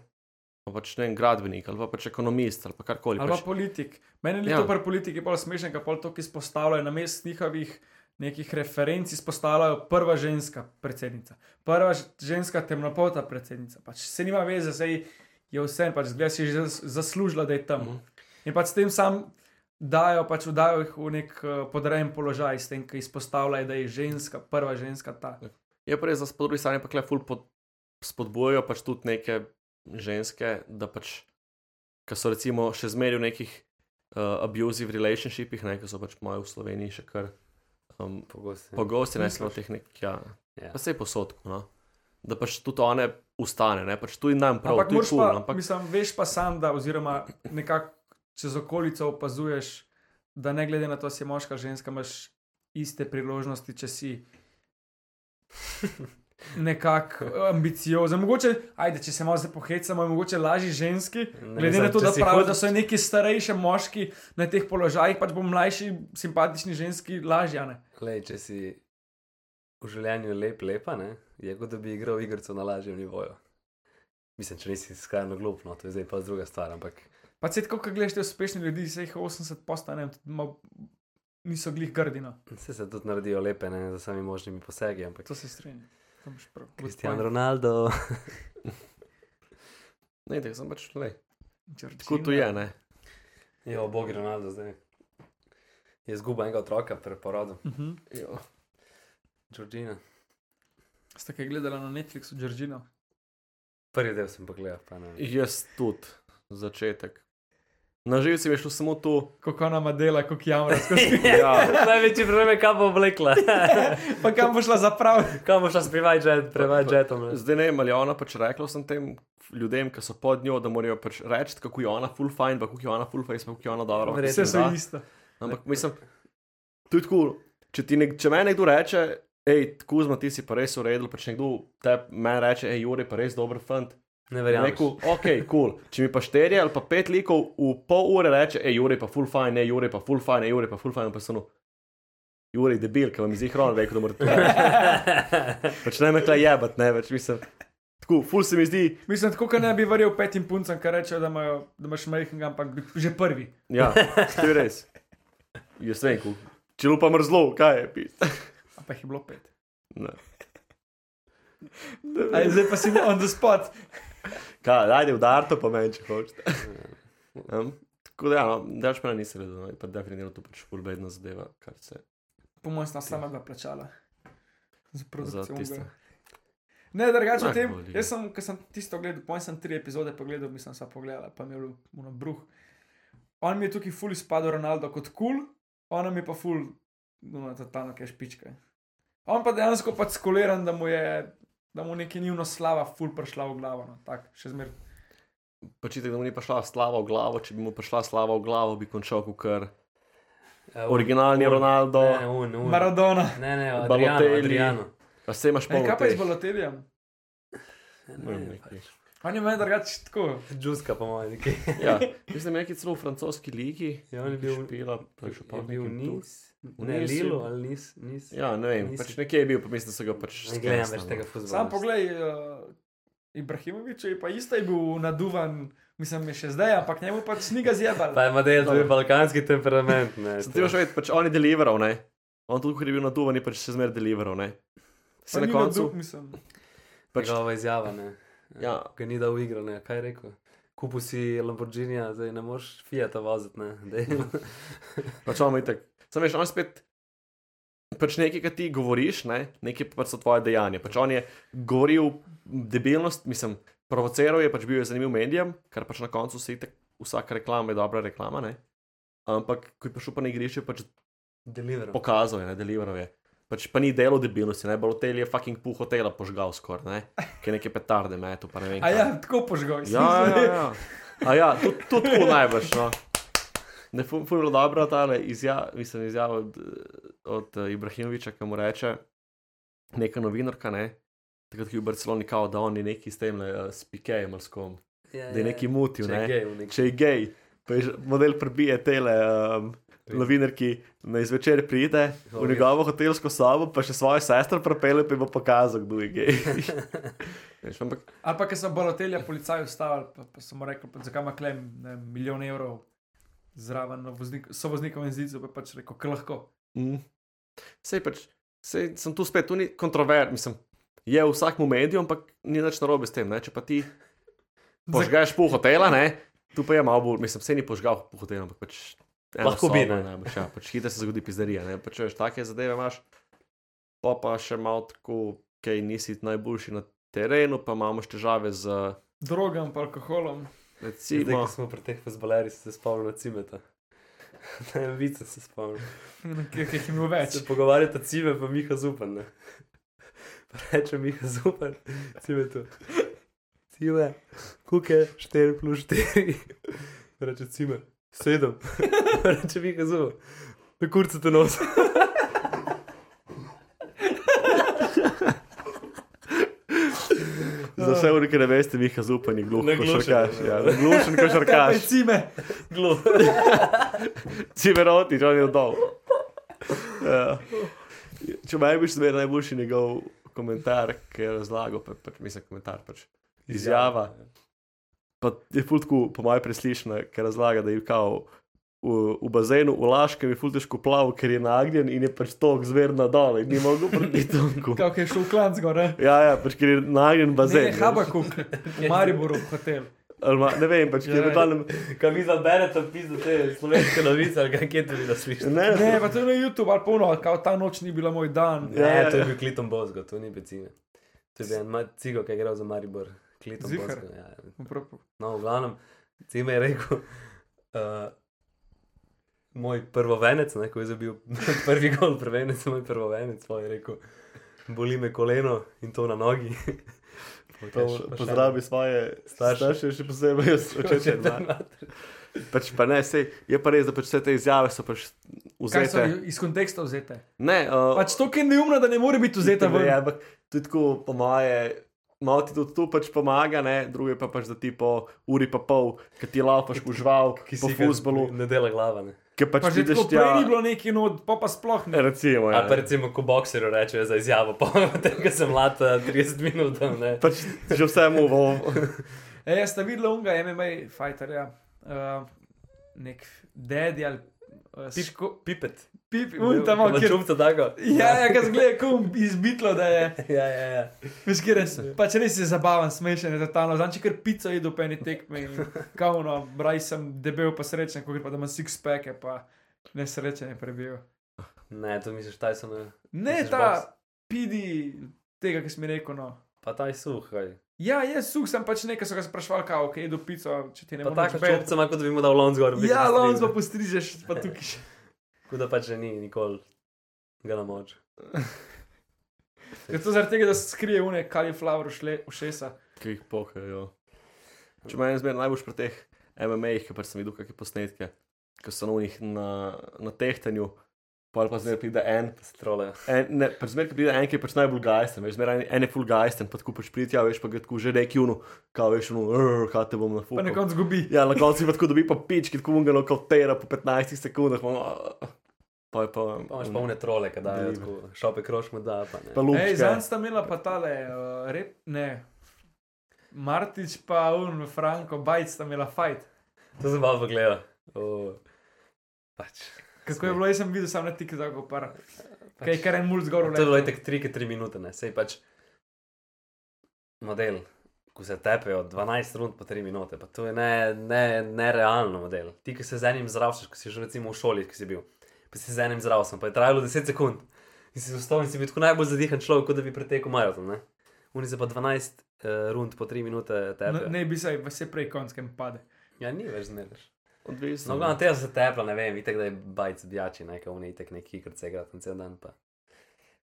S4: Pa pač ne vem, gradbenik ali pa pač ekonomist ali pa karkoli.
S5: Ali pa
S4: Pač,
S5: politik. Meni je
S4: Ja.
S5: ja. to pri politiki bolj smešen, ker pol to, ki izpostavljajo na mest njihovih nekih referenc, izpostavljajo prva ženska predsednica, prva ž- ženska temnopolta predsednica. Pač se nima veze, zdaj je vse, pač zgleda si je že zas- zaslužila, da je tam.
S4: Mhm.
S5: In pač s tem sam dajo, pač vdajo jih v nek eh, podrejen položaj, s tem, ki izpostavljajo, da je ženska, prva ženska ta.
S4: je pa res, da s- Ja, po drugi strani pa kleful pod, spodbujajo pač tudi neke ženske, da pač, ki so recimo še zmeraj v nekih uh, abusive relationshipih, ne, ki so pač moje v Sloveniji še kar um,
S3: Pogosto.
S5: Ja.
S4: pogosti, ne samo teh nekih, ja,
S3: Ja.
S4: pa sej posodku, no. da pač tudi one ustane, ne, pač tudi nam prav,
S5: ampak,
S4: tudi
S5: moraš
S4: cool,
S5: pa,
S4: ampak
S5: mislim, veš pa sam, da, oziroma nekako čez okolico opazuješ, da ne glede na to, si moška, ženska, imaš iste priložnosti, če si nekako ambiciozen. Mogoče, ajde, če se malo zdaj pohecamo, je mogoče lažje ženski.
S3: Ne,
S5: Glede na
S3: mislim,
S5: to,
S3: če
S5: da
S3: si
S5: pravijo,
S3: hod-
S5: da so neki starejši moški na teh položajih, pač bo mlajši, simpatični ženski lažje. a ne?
S3: Lej, če si v življenju lep, lepa, ne? je kot da bi igral igrico na lažjem nivoju. Mislim, če nisi skrajno glup, no, to je zdaj pa druga stvar, ampak
S5: Pa se tako, ko gledaš te uspešne ljudi, se jih 80 postane, niso glih no. grdino.
S3: vse se tudi naredijo lepe, ne za sami možnimi posegi. Ampak
S5: To se strinjam. To imaš prav. Good
S3: Kristijan
S5: point.
S3: Ronaldo,
S4: [LAUGHS] ne, tako sem pač le. Tako
S5: Georgina.
S4: to je, ne.
S3: jo, bogi Ronaldo zdaj. Je izguba enega otroka pri porodu,
S5: Mhm.
S4: Jo.
S3: Georgina.
S5: Ste kaj gledali na Netflixu, Džoržino?
S3: Prvi del sem pogledal, pa
S4: [LAUGHS]
S3: ne.
S5: ja.
S4: Jaz tudi, začetek. Na živce mi je šlo samo to,
S5: Kako ona ima dela, kako jamra [LAUGHS] skozi.
S4: ja,
S3: Največji problem je, kam bo vlekla. [LAUGHS]
S5: pa kam bo šla zapraviti?
S3: kam bo šla s privajdžetom, privajdžetom.
S4: zdaj ne vem, ali je ona pač rekla vsem tem ljudem, ki so pod njo, da morajo pač reči, kako je ona full fine, pa kako je ona full face, pa kako je ona dobro.
S3: Verjetno
S5: Vse so
S4: da.
S5: isto.
S4: Ampak mislim, tudi tako, če, ti nek, če meni nekdo reče, hej, Kuzma, ti si pa res uredil, pač nekdo te meni reče, hej, Jure, pa res dober fant.
S3: Ne
S4: Ja,
S3: verjamem. [LAUGHS]
S4: rekel, ok, kul. Cool. Če mi pa šterje ali pa pet likov v pol ure reče, hej, Jure, pa full fine, ne, Jure, pa full fine, ne, Jure, pa full fine, pa sem. Jure, je debil, ki vam je zihron rekel, da morate to reči.
S3: Ja.
S4: Pač ne me kaj jebat, ne več, mislim. Tako, full se mi zdi,
S5: Mislim, tako, da ne bi verjel petim puncem, ki rečejo, da, imajo, da imaš majhnega, ampak bi- že prvi.
S4: ja, to je res. Jaz ne vem, kul. Če lupa mrzlo, kaj je, pis.
S5: A pa jih je bilo pet.
S4: Ne.
S5: Aj, zdaj pa si na on the spot.
S4: Kaj, ajde, udar to pa meni, če hočete. Um, tako da, ja, no, dač pa nisem vedel, no, je pa definitivno to pač full bedna zadeva, kar se
S5: Po mojem sta sama dva plačala. Za
S4: za
S5: produkcijo.
S4: tiste.
S5: onega. Ne, drugače o
S4: Tako
S5: tem.
S4: boli.
S5: Jaz sem, ko sem tisto gledal, pojem sem tri epizode pogledal, mislim, sva pogledala, pa mi je bilo bruh. On mi je tukaj ful izpadel Ronaldo kot kul, cool, ona mi je pa ful, no, totalno kaj špička. On pa dejansko pač skoliran, da mu je, da mu neki njivno slava ful prišla v glavo, no, tak, še zmer.
S4: Pač je, da mu ni prišla slava v glavo, če bi mu prišla slava v glavo, bi končal kot kar originalni
S3: Eh, un-
S4: Ronaldo.
S3: Ne, un, un.
S5: Maradona.
S3: Ne, ne,
S4: Balotelli.
S3: Adriano. Adriano.
S4: A se imaš
S5: Ej,
S4: polno.
S5: kaj pa je z Baloteljem?
S4: Ne, ne, ne.
S5: On je meni drugače tako.
S3: Džuska, po mojem, nekaj.
S4: Ja, mislim, da je nekaj celo v francoski ligi.
S3: Ja, on je bil-
S4: špila, pa še pa
S3: [LAUGHS] Je bil niz, ne
S4: Nisu.
S3: Lilo ali niz. niz.
S4: Ja, ne vem,
S3: Nisi-
S4: pač nekje je bil, pa mislim, da so ga pač
S3: Ne gledam več
S4: skresnili.
S3: tega fuzbola.
S5: Sam poglej, uh, Ibrahimovič je pa isto je bil naduvan, mislim, je še zdaj, ampak njemu pač sniga zjebal.
S3: Pa ima dejal, da je balkanski temperament. Ne,
S4: Sem ti že rekel, pač on je deliveral, ne. On tudi, ko je bil na duvan, je pač še zmeraj deliveral, ne. Se
S5: Pa
S4: na
S5: ni
S4: koncu.
S5: nadub, mislim.
S4: Pač,
S3: Njegova izjava, ne.
S4: ja,
S3: Ga ni dal v igro, ne. Kaj je rekel? Kupu si Lamborghinija, zdaj ne moš Fiata voziti, ne.
S4: [LAUGHS]
S3: Daj.
S4: pač on je tak. Sam veš, on je spet. Pač nekaj, kar ti govoriš, ne, nekaj pa pač so tvoje dejanja. Pač on je govoril debilnost, mislim, provociral je, pač bil je zanimiv medijem, kar pač na koncu se itek, vsaka reklama je dobra reklama, ne. Ampak, ko je prišel pa na igrišče, pač
S3: Deliveral.
S4: pokazal je, ne, deliveral je. Pač pa ni delo debilnosti, ne, hotel je fucking puh hotela požgal skoraj, ne, ki je neke petarde metu, pa ne vem.
S5: A
S4: kaj.
S5: ja, tako požgal.
S4: ja, ja, ja. A ja, tudi tu tako najbrž, no. Ne, ful ful je bila dobra ta izjava, mislim, izjava od, eh, od eh, Ibrahimoviča, ki mu reče, neka novinarka, ne, takrat, ki je v Barceloni kao, da on je neki s tem, uh, s pikejem ali s kom,
S3: Ja,
S4: da je neki mutil,
S3: Če
S4: ne
S3: je gej v neki.
S4: če je gej, pa je že- model prebije tele. Um, Novinar, ki na izvečer pride v njegovo hotelsko sobo, pa še svojo sestro pripelje, pa ji bo pokazal, kdo je gej. [LAUGHS] Veš, Ampak
S5: Ali pa, ker so balotelja policaji ustavili, pa, pa so mu rekli, pa zakaj ima klem ne, vem, milijon evrov zraven na voznik, so voznikom in zidu, pa je pač rekel, ker lahko.
S4: Mm. Sej pač, sej sem tu spet, tu ni kontroverz, mislim, je v vsakem mediju, ampak ni nič narobe s tem. Ne? Če pa ti požgaš pol hotela, ne? tu pa je malo bolj, mislim, sej ni požgal pol hotela, ampak pač. eno
S3: Lahko bi,
S4: sobo,
S3: ne.
S4: Najbrž, ja, pač hitro se zgodi pizderija, ne pač, veš, take zadeve imaš, pa pa še malo tako, kaj nisi najboljši na terenu, pa imamo še težave z,
S5: Drogam, pa alkoholom. [LAUGHS]
S3: Zdaj,
S4: recimo,
S3: ko smo pri teh fuzbolerjih, se spomnim Cimeta. [LAUGHS] Ne, vice se spomnim.
S5: Ki ki jih je imel več.
S3: Se pogovarjata Cime pa Miha Zupan. Ne? Pa reče Miha Zupan, Cime tu. Cime, kuke, 4 plus 4. Pa reče Cime, 7. Pa reče Miha Zupan, na kurcu te nosi.
S4: za vse ure, ki ne veste, mi je zupanje gluh,
S3: Naglušen,
S4: košarkaš.
S3: ne.
S4: Ja, glušen košarkaš. [LAUGHS]
S5: Cime,
S3: Glo.
S4: Cimeroti, on je [LAUGHS] dol. Ja. Če maj biš zmeraj najboljši njegov komentar, ki je razlagal, pa, pa, mislim, komentar pač. Izjava. Pa je fultku, po mojem, preslišna, ker razlaga, da je kao v, v bazenu v Laškem je fulteško plaval, ker je nagnjen in je pač tok zverna dol in ni mogel proti tonku.
S5: kako je šel v klanc gor, ne?
S4: Ja, ja, pač ker je nagnjen
S5: Ne,
S4: bazen. [LAUGHS]
S5: Habakuk, v Mariboru, hotel.
S4: Ali ma- ne vem, pač ker
S3: Ja,
S4: je v glavnem.
S3: Kaj vi zaberete, pizda te slovenske novice, ali kaj kje tudi naslišite?
S4: Ne,
S5: Ne, pa to je na YouTube, ali polno, kao ta noč ni bila moj dan.
S4: Ja,
S3: Ne,
S4: ja.
S3: to je bil Kliton Bozgo, to ni bil Cime. To je bil en ma- cigo, ki je igral za Maribor. Kliton
S5: Zihar.
S3: Bozgo. Ja. ja.
S5: Prav-
S3: No, v glavnem, Cime je rekel, uh, moj prvovenec, ne, ko je zabil [LAUGHS] prvi gol, prvenec, moj prvovenec, pa je rekel, boli me koleno in to na nogi. [LAUGHS] Pa
S4: To
S3: kaj še- pa še-
S4: Pozdravi pač svoje
S3: Starše.
S4: starše, še
S3: [LAUGHS]
S4: posebej jaz, oče
S3: Oče,
S4: te
S3: da.
S4: ima. Pač pa ne, sej, je pa res, da pač vse te izjave so pač
S5: Kaj so
S4: vzete.
S5: iz konteksta vzete?
S4: Ne, uh,
S5: Pač to, ki je neumno, da ne more biti vzeta
S4: je,
S5: ven.
S4: ampak tudi tako, po moje, malo ti tudi tu pač pomaga, ne, druge pa pač, da ti po uri pa pol, ki ti lapaš v žval,
S3: Ki si
S4: po
S3: ga
S4: fusbolu,
S3: Ne dela glava. Ne.
S4: ki pač
S5: Pa že
S4: vidiš
S5: tako
S4: tja.
S5: prej ni bilo neki not, pa pa sploh ne.
S4: Recimo, ja.
S3: Ali pa recimo, ko bokserju rečejo za izjavo, pa [LAUGHS] tega sem lata 30 minut. Ne.
S4: Pač že vse mu bo.
S5: [LAUGHS] E, jaz sem videl unga MMA fighterja, uh, nek dedi ali uh,
S3: Pip-
S5: ško-
S3: Pipet.
S5: pip, un tam, kjer.
S3: čumca tako.
S5: Ja, ja, ga zgleda, kum izbitlo, da je.
S3: [LAUGHS] ja, ja, ja.
S5: Veš, kje res. Pač res je zabaven, smešen je totalno. Znači, ker pico jedo po eni tekmi. Kauno, braj no, sem debel, pa srečen, ko gre pa da ima six peke, pa nesrečen je prebil.
S3: Ne, to misliš, taj so ne. Misliš boks?
S5: Ne, ta pidi tega, ki si mi rekel, no.
S3: Pa taj suhaj.
S5: Ja, jaz suh sem pač nekaj, so ga sprašvali, kako je do pico, če ti ne
S3: Pa
S5: bo
S3: tako čumca ima, kot da bi mu dal lon zgor. bi
S5: Ja,
S3: ga
S5: lonc pa
S3: strigel.
S5: postrižeš, pa tukaj še.
S3: Tako da pač že ni nikoli ga na moč.
S5: [LAUGHS] Je to zaradi tega, da se skrije une cauliflower ušle- ušesa.
S4: Ki jih
S5: ja.
S4: pokajo. Če me en zmer najbolj pri teh MMA-jih, ki pač sem videl kakšne posnetke, ki so na, onih na, na tehtanju, Pol pa zmeraj pride en,
S3: Strole.
S4: en ne, pač zmeraj pride en, ki je pač najbolj gajsten, veš, zmeraj en je full gajsten, pa tako pač pridja, veš, pa ga tako že neki uno, kao veš, uno, "Rrr, kaj te bom na
S5: Pa
S4: fuck.
S5: nekako zgubi.
S4: Ja, na koncu pa tako dobi pa pički, tako ungano kot tera po 15 sekundah, pa, "Ah." pa je pa,
S3: Pa imaš pa une trole, kaj dajo,
S4: Deliver.
S3: tako, šope kroš mu da, pa
S4: pa
S3: ne.
S5: Ej,
S4: lupčka.
S5: zanj sta imela pa tale, uh, rep, ne. Martič pa un, Franko, Bajc sta imela fajt.
S3: To sem malo pogledal. O, Pač.
S5: Kako je bilo, jaz sem videl sam na TikToku, par. Kaj je kar en mulj zgor
S3: To je bilo tako 3-4 minute, ne, sej pač model, ko se tepejo 12 rund po 3 minute, pa to je ne, ne, nerealno model. Ti, ki se z enim zdravšaš, ki si že recimo v šoli, ki si bil, pa si z enim zdravšem, pa je trajalo 10 sekund. In si vstal in si bil tako najbolj zadihan človek, kot da bi pretekel maraton, ne. Oni se pa 12 uh, rund po 3 minute tepejo.
S5: Ne bi se, vse prej konskem pade.
S3: Ja, ni več zmeraj.
S4: Odvisno.
S3: No, glavno tega se tepla, ne vem, itek da je bajc bjači, nekaj unitek neki, ker se igra tam cel dan. Pa.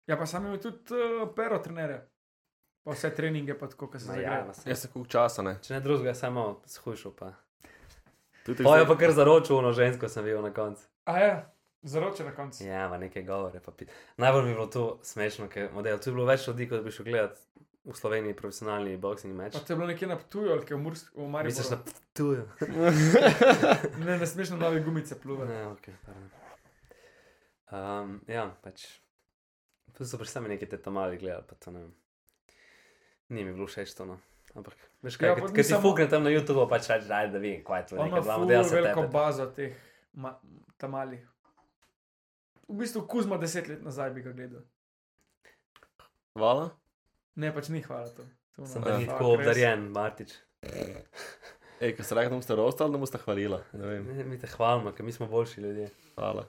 S5: Ja, pa sam imel tudi uh, pero trenere. Pa vse treninge, pa tako, kar se
S3: Ma Ja,
S5: zagreva.
S3: se,
S4: Jaz sem kuk časa, ne.
S3: če ne drugega, samo skušal pa.
S4: To je tako
S3: Pa je
S4: zdaj-
S3: pa kar zaročil, ono žensko sem bil na koncu.
S5: A ja, zaroče na koncu.
S3: Ja, ima neke govore. pa pi- Najbolj mi je bilo to smešno, ker model, tu je bilo več ljudi, kot bi šel gledat v Sloveniji profesionalni boxing meč.
S5: Pa to no. je bilo nekje na Ptuju ali kaj v, Mursk, v
S3: pač. Misliš,
S5: Mariboru.
S3: da tujo?
S5: Ne, ne smeš na nove gumice plovati.
S3: Ne, ok, pardon. Um, ja, pač. Tu so pač sami neki te tamali gledali, pa to ne vem. Ni mi bilo všeč to, no. Ampak, veš kaj, ja,
S5: Ja, pa
S3: ker si
S5: nisem-
S3: fukne tam na YouTube, pač rečeš, da da vem, kaj je to.
S5: On
S3: Nekaj
S5: ima
S3: dva
S5: ful
S3: modela se
S5: veliko
S3: tepe.
S5: bazo teh ma- tamalih. V bistvu Kuzma deset let nazaj bi ga gledal.
S4: Hvala.
S5: Ne, pač ni hvala to. To
S3: Sem
S5: mu
S3: da
S5: ne,
S3: ni
S5: fuck,
S3: tako
S5: res.
S3: obdarjen, Martič.
S4: Ej, kaj se reče, da boste rostali, da boste hvalila. Ne vem,
S3: Ne, Mi te hvalimo, ker mi smo boljši ljudje.
S4: hvala.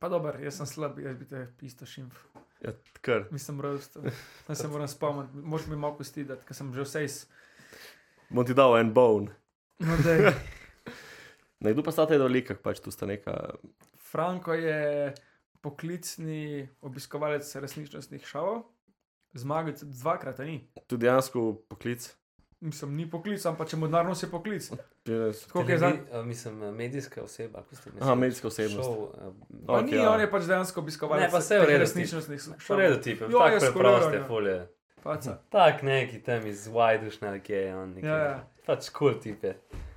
S5: Pa dober, jaz sem slab, jaz bi te isto šimf.
S4: Ja, kar.
S5: Mislim, rojstvo. Zdaj se moram spomniti, moš mi malo pusti, da ker sem že vse iz.
S4: Bom ti dal en bone.
S5: No,
S3: [LAUGHS]
S5: daj.
S4: Nekdo pa state do likah, pač tu sta neka.
S5: Franko je poklicni obiskovalec resničnostnih šovov, zmagal tudi dvakrat, a ni.
S4: Tudi dejansko poklic.
S5: Mislim, ni poklic, ampak če mu denarno se poklic.
S4: Res.
S5: Tako kot je zdaj.
S3: Televi- a, Mislim, eh, medijska oseba. kako ste mislili?
S4: Aha, medijska osebnost.
S3: Šov,
S5: Pa
S4: Ok,
S5: okay, ni,
S4: ja.
S5: ja. on je pač dejansko obiskovalec.
S3: Ne, pa saj v
S5: teh
S3: redu,
S5: Resničnostnih
S3: Šov
S5: šovov.
S3: redo tipe,
S5: Jo,
S3: tako
S5: jaz
S3: preproste
S5: skoraj, ja.
S3: fulje.
S5: Paca.
S3: Tak neki tam iz Wajdušne ali kje je on.
S5: Ja, ja.
S3: Ja. Pač kul cool tipe.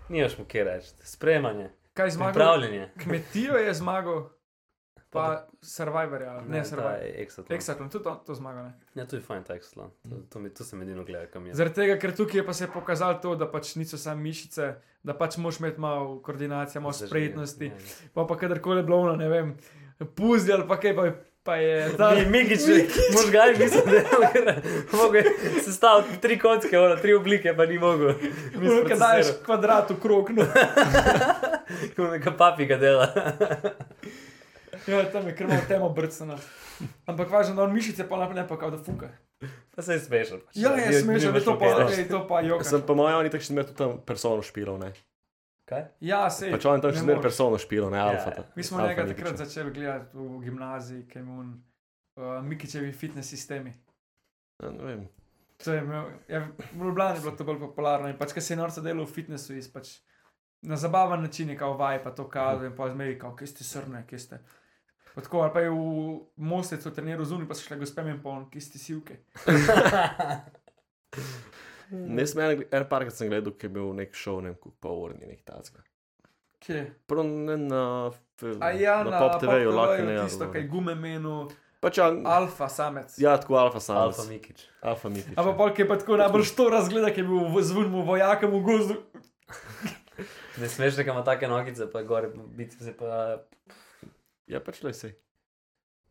S3: Nimaš mu kje reči. Spremanje,
S5: Kaj je zmagal?
S3: pripravljanje.
S5: [LAUGHS] Kmetijo je zmagal, pa Survivor, ja. ne Survivor.
S3: Exatlon.
S5: Eksatlon, tudi on to zmaga. Ne?
S3: Ja, tu je fajn ta Exatlon. To, to, mi- to sem edino gledal, kam je.
S5: Zaradi tega, ker tukaj je pa se pokazalo to, da pač niso samo mišice, da pač moš imeti malo koordinacije, malo
S3: Zaživljen.
S5: spretnosti.
S3: Ja, ja.
S5: Pa pa kadarkoli je bilo, ono, ne vem, puzdi ali pa kaj, pa, je-
S3: [LAUGHS]
S5: pa je ta
S3: Mi, Mikič, možgani niso delali, mogo je sestaviti tri kocke, ono, tri oblike, pa ni mogel. Mi smo
S5: Kaj daješ kvadrat v krog, no. [LAUGHS]
S3: Neka papiga dela.
S5: ja, tam je krmo temo brcana. Ampak važno, da on mišice pa ne pa kao da fuka.
S3: Pa se je smešal. pač.
S5: Ja,
S3: Ni-
S5: je smešno,
S3: nimaš
S5: da to
S3: mu kaj
S5: pa,
S3: reči.
S5: ej, to pa joka.
S4: Sem po mojem, oni tako še zmeraj tudi tam persono špilov, ne.
S3: [LAUGHS] Kaj?
S5: Ja, sej.
S4: Pač oni tam
S5: ne
S4: še zmeraj
S5: moreš. Ja,
S4: persono špilov, ne, alfa. ta-
S5: Mi smo
S4: alfa
S5: nekaj
S4: Nikiča.
S5: takrat začeli gledati v gimnaziji, ki je imel un, uh, Mikičevi fitness sistemi.
S4: Ja, Ne vem.
S5: To je imel, ja, v Ljubljani je bilo to bolj popularno in pač, ker se je norce delal v fitnessu, iz pač na zabaven način je kao vaj, pa to kazal in pa zmeri, kao, kje ste srne, kje ste. Pa tako, ali pa je v Mostecu treniral zunaj, pa so šle gospe in poln, kje ste sivke. Hmm.
S4: Ne, sem en, en parkrat sem gledal, ki je bil nek šov, ne vem, koliko pa urni nek tacka.
S5: Kje?
S4: Prav ne na, f-
S5: A ja, na,
S4: na Pop TV-ju, lahko ne.
S5: je. Tisto, kaj gume menu,
S4: Pač ja,
S5: alfa samec.
S4: ja, tako alfa sam.
S3: Alfa Mikič.
S4: Alfa Mikič.
S5: Ampak pol, ki je pa tako najbolj što razgleda, ki je bil v- zvon mu vojakom v gozdu.
S3: Ne smeš, da ima take nogice, pa gore, biti se pa.
S4: Ja, pač le se.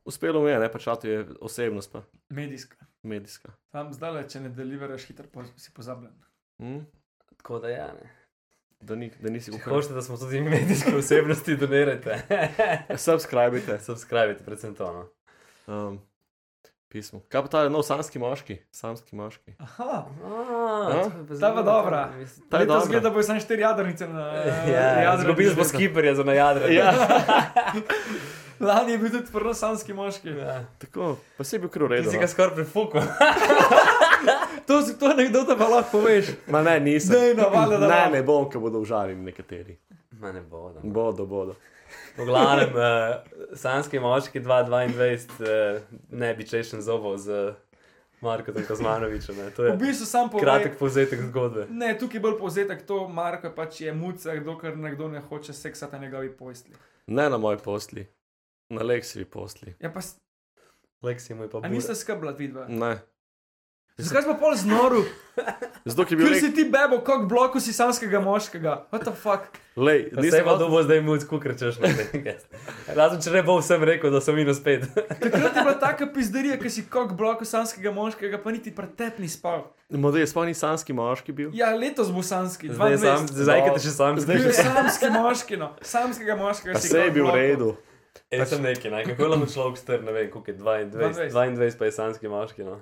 S4: Uspelo mu je, ne pač to je osebnost, pa
S5: Medijska.
S4: medijska.
S5: Tam zdaj le, če ne deliveraš hitro, po, si pozabljen.
S4: Hm?
S3: Tako da ja, ne.
S4: Da, ni, da nisi
S3: Če
S4: ukvarjal.
S3: hočete, da smo tudi mi medijske osebnosti, [LAUGHS] donirajte.
S4: Subskrbite.
S3: Subskrbite, predvsem to. No.
S4: Um, pismo. Kaj pa ta nov sanski moški? Samski moški.
S5: Aha.
S3: A, to je
S5: Ta je pa dobra. Eh,
S3: mislim-
S4: Ta je
S5: Letos
S4: dobra.
S5: zgleda, bo samo štiri jadrnice na
S3: [LAUGHS] Ja,
S5: jadrnice.
S3: zgubili smo skiperja za najadre.
S5: Ja. Lani je bil tudi prvosanski moški.
S3: Ja.
S4: Tako, pa si bil kar no. urejen.
S3: Ti si ga skoraj prefukal.
S5: To, si- to anegdota pa lahko poveš.
S4: Ma ne, nisem.
S5: Daj, no, valjda, da
S4: ne,
S5: bom.
S4: ne bom, ker bodo užaljeni nekateri.
S3: Ma ne bodo.
S4: Bodo, bodo.
S3: V glavnem, uh, sanski moški 2022, uh, ne bi češen zobo z Markom Kozmanovičem. ne. To
S5: V
S3: je
S5: bistvu sam povem.
S3: Ja. kratek povzetek zgodbe.
S5: Ne, tukaj je bolj povzetek to, Marko je pač je muca, dokler nekdo ne hoče seksati na njegovi pojstli.
S4: Ne na moji posli, na Lexi posli.
S5: Ja, pa s-
S3: Leksi mu je pa
S5: a
S3: bil.
S5: niste skrbla, vidva.
S4: Ne.
S5: Zakaj smo pol znoru?
S4: Zato, ker je bil
S5: Ker
S4: Lex.
S5: si ti bebo, kot bloku si samskega moškega. What the fuck?
S4: Lej,
S3: Vse
S4: nisem
S3: pa
S4: hotel-
S3: dobo zdaj mu skukrčeš. Razen če ne bo vsem rekel, da so minus pet.
S5: Takrat je bila taka pizderija, ker si kot bloku samskega moškega, pa niti pretep ni spal.
S4: Mode, jaz pa ni sanski moški bil.
S5: Ja, letos bo samski,
S3: Zdaj je sam,
S5: 22.
S3: zdaj
S4: No.
S3: kaj te še sam
S4: Zdaj
S5: Bil je
S3: zdaj.
S5: samski moški, no. Samskega moškega
S4: Ja,
S5: si
S4: Vse je
S5: kot
S4: bil v
S5: bloku.
S4: redu.
S3: Jaz sem neki, ne? kako lahko človek strne, ne vem, koliko je 22,
S5: 22.
S3: 22 pa je sanski moški. No.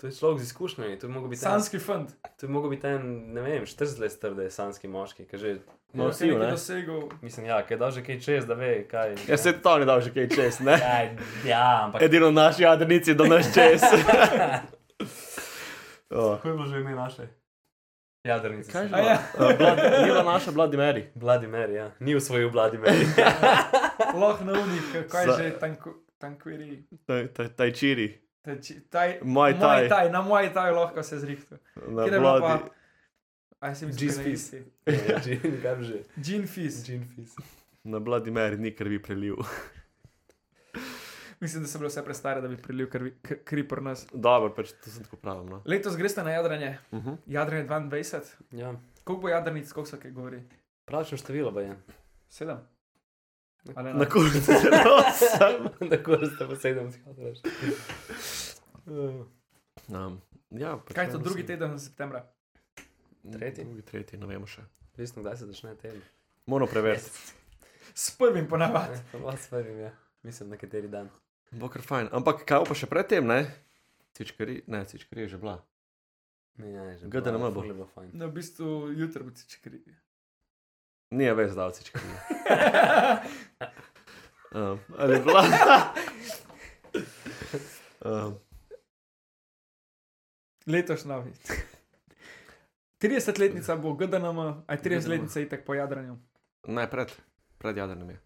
S3: To je človek z izkušnjami, to je mogel biti en,
S5: Samski fant.
S3: to je mogel biti en ne vem, 40 let star, da je sanski moški. Kaj že,
S4: No,
S5: Ja,
S4: vsi,
S5: nekaj
S4: ne?
S5: dosegel.
S3: mislim, ja, kaj da že kaj čez, da ve, kaj.
S4: Jaz se Ja, to ne dal že kaj čez, ne? [LAUGHS]
S3: Ja, ja ampak.
S4: Edino naši jadrnici do nas
S5: [LAUGHS]
S4: čez. [LAUGHS] oh.
S3: Kako je bilo že ime naše? Jadrnice.
S4: Kaj že?
S5: A ja,
S4: Blad, ni bila naša Vladimir.
S3: Vladimir, ja. Ni usvojil Vladimir.
S5: lahko na unih, kaj
S4: Za-
S5: že tanku- tankviri.
S4: Taj čiri.
S5: Teči, taj,
S4: Muay
S5: Muay
S4: Thai.
S5: Thai, na moj taj lahko se zrihtu.
S4: Na
S5: Kjer je bila
S4: Vladi.
S5: pa. Aj sem
S3: Jeez Fizz.
S5: izginil.
S3: Ja. Kaj že?
S5: Gin Fizz.
S3: Jean Fizz.
S4: Na Vladimir ni krvi prelil. [LAUGHS]
S5: Mislim, da se bilo vse prestare, da bi prilil krvi- kr- kri pri nas.
S4: Dobro, pač to sem tako pravil. No.
S5: Letos greste na jadranje.
S4: Uh -huh.
S5: Jadranje 22.
S3: Ja.
S5: Koliko bo jadrnic, koliko so kaj govori?
S3: Pravično število pa [LAUGHS] je.
S5: Sedem. Ali
S4: Na
S5: ena?
S4: koncu zelo sem.
S3: [LAUGHS] Tako ste pa sedem skadreš. Eh,
S4: Um, ja, pač
S5: Kaj je to
S4: ne vem,
S5: drugi
S4: sem-
S5: teden septembra?
S3: Tretji?
S4: Drugi, tretji, ne vemo še.
S3: Veste, kdaj se začne tem?
S4: Moramo preveriti.
S5: S prvim ponavadi.
S3: Eh, Vas prvim, ja. Mislim, na kateri dan.
S4: Bo kar fajn. Ampak kaj bo pa še predtem, ne? Cičkari, ne, cičkari je že bila.
S3: Ne, ja, ne, že.
S4: GDNM bo.
S3: Bilo bo [LAUGHS] fajn.
S5: No, v bistvu jutri bo ti čekri.
S4: Nije več dal cičkari. [LAUGHS] Um, ali je bila? [LAUGHS] um,
S5: Letoš novi. [LAUGHS] 30-letnica bo GDNM, aj 30-letnica je itak po jadranju.
S4: ne, pred, pred jadrnem je.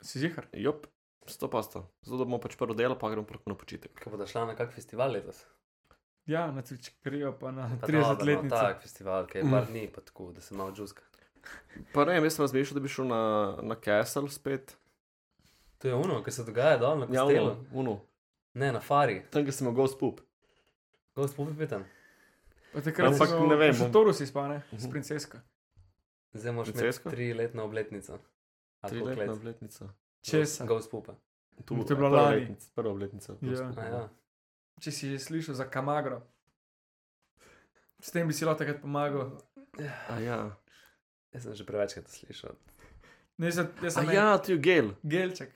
S5: Si zihar?
S4: Jop, 100%. Zato da bomo pač prvo delo, pa gremo prvo na počitek.
S3: Kaj bodo šla na kak festival letos?
S5: Ja, na Twitch-krijo pa na
S3: Pa dobro, no,
S5: 30-letnico.
S3: Tak festival, ki je par dni, pa tako, da se malo džuska.
S4: Pa ne, vem, jaz sem razmišljal, da bi šel na, na Castle spet.
S3: To je ono, ki se dogaja dol na
S4: Ja,
S3: kastelu.
S4: ono, ono.
S3: Ne, na fari.
S4: Tam, kjer sem mogel spup.
S3: Gost popi pitan.
S5: Pa takrat
S4: Ampak
S5: si imel-
S4: ne vem,
S5: V
S4: bom-
S5: Toru si spal, ne? S
S4: Mhm.
S5: princesko.
S3: Zdaj moraš
S4: Princesko?
S3: imeti tri letno obletnico.
S4: Tri letna obletnica.
S5: Česa?
S3: Gost popa.
S4: Tu
S5: To je bila
S4: prva
S5: lani.
S4: obletnica- Prva obletnica. Go
S5: Ja.
S4: Spoop.
S3: Ja.
S5: Če si že slišal za Kamagro. S tem bi si lahko takrat pomagal.
S4: A ja.
S3: Jaz sem že prevečkrat to slišal.
S5: Ne, jaz, jaz
S4: A
S5: sem ja.
S4: ja, tu je gel.
S5: gelček.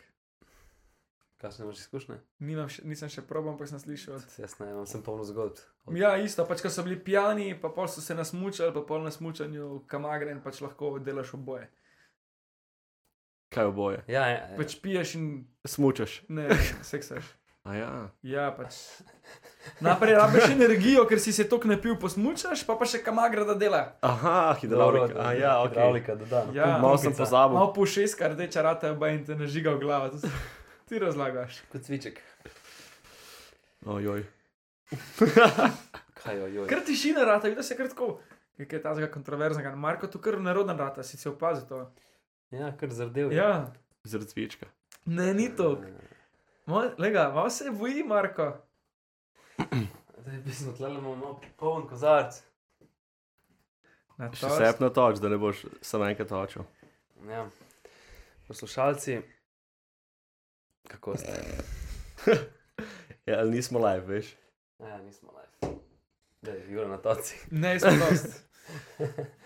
S3: Kakšne imaš izkušnje?
S5: Nimam, še- nisem še probal, ampak sem slišal. Od...
S3: Jaz ne, imam sem polno zgodb. Od-
S5: Ja, isto, pač ko so bili pijani, pa pol so se nasmučali, pa pol na smučanju kamagre in pač lahko delaš oboje.
S4: Kaj oboje?
S3: Ja, ja, ja.
S5: Pač piješ in
S4: Smučaš.
S5: ne, seksaš.
S4: A ja.
S5: Ja, pač. Najprej rabiš energijo, ker si se tok napil, posmučaš, pa pa še kamagre da dela.
S4: Aha, hidravlika. A ja, ok.
S3: Hidravlika, da da.
S5: Ja.
S4: Malo sem pozabil.
S5: Malo po šest, kar reče, rata pa in te ne žiga v glavo. To se- Ti razlagaš.
S3: Kot cviček.
S4: Ojoj.
S3: Kaj, ojoj.
S5: Ker tišina rata, vidiš se kratko. Kaj je tazga kontroverznega? Marko, tu kar neroden rata, si se opazil to.
S3: Ja, kar zardel. je. E,
S5: Ja,
S4: Zaradi cvička.
S5: ne, ni to. Lega, malo se boji, Marko.
S3: Zdaj, v bistvu, tle imamo no, poln kozarc.
S5: Na
S4: Še
S5: to-
S4: sep na toč, da ne boš samo enkrat točil.
S3: Ja. Poslušalci, kako ste?
S4: Ja, ali nismo live, veš?
S3: Ja, nismo live. Da, Jure na toci.
S5: Ne, izpolnost.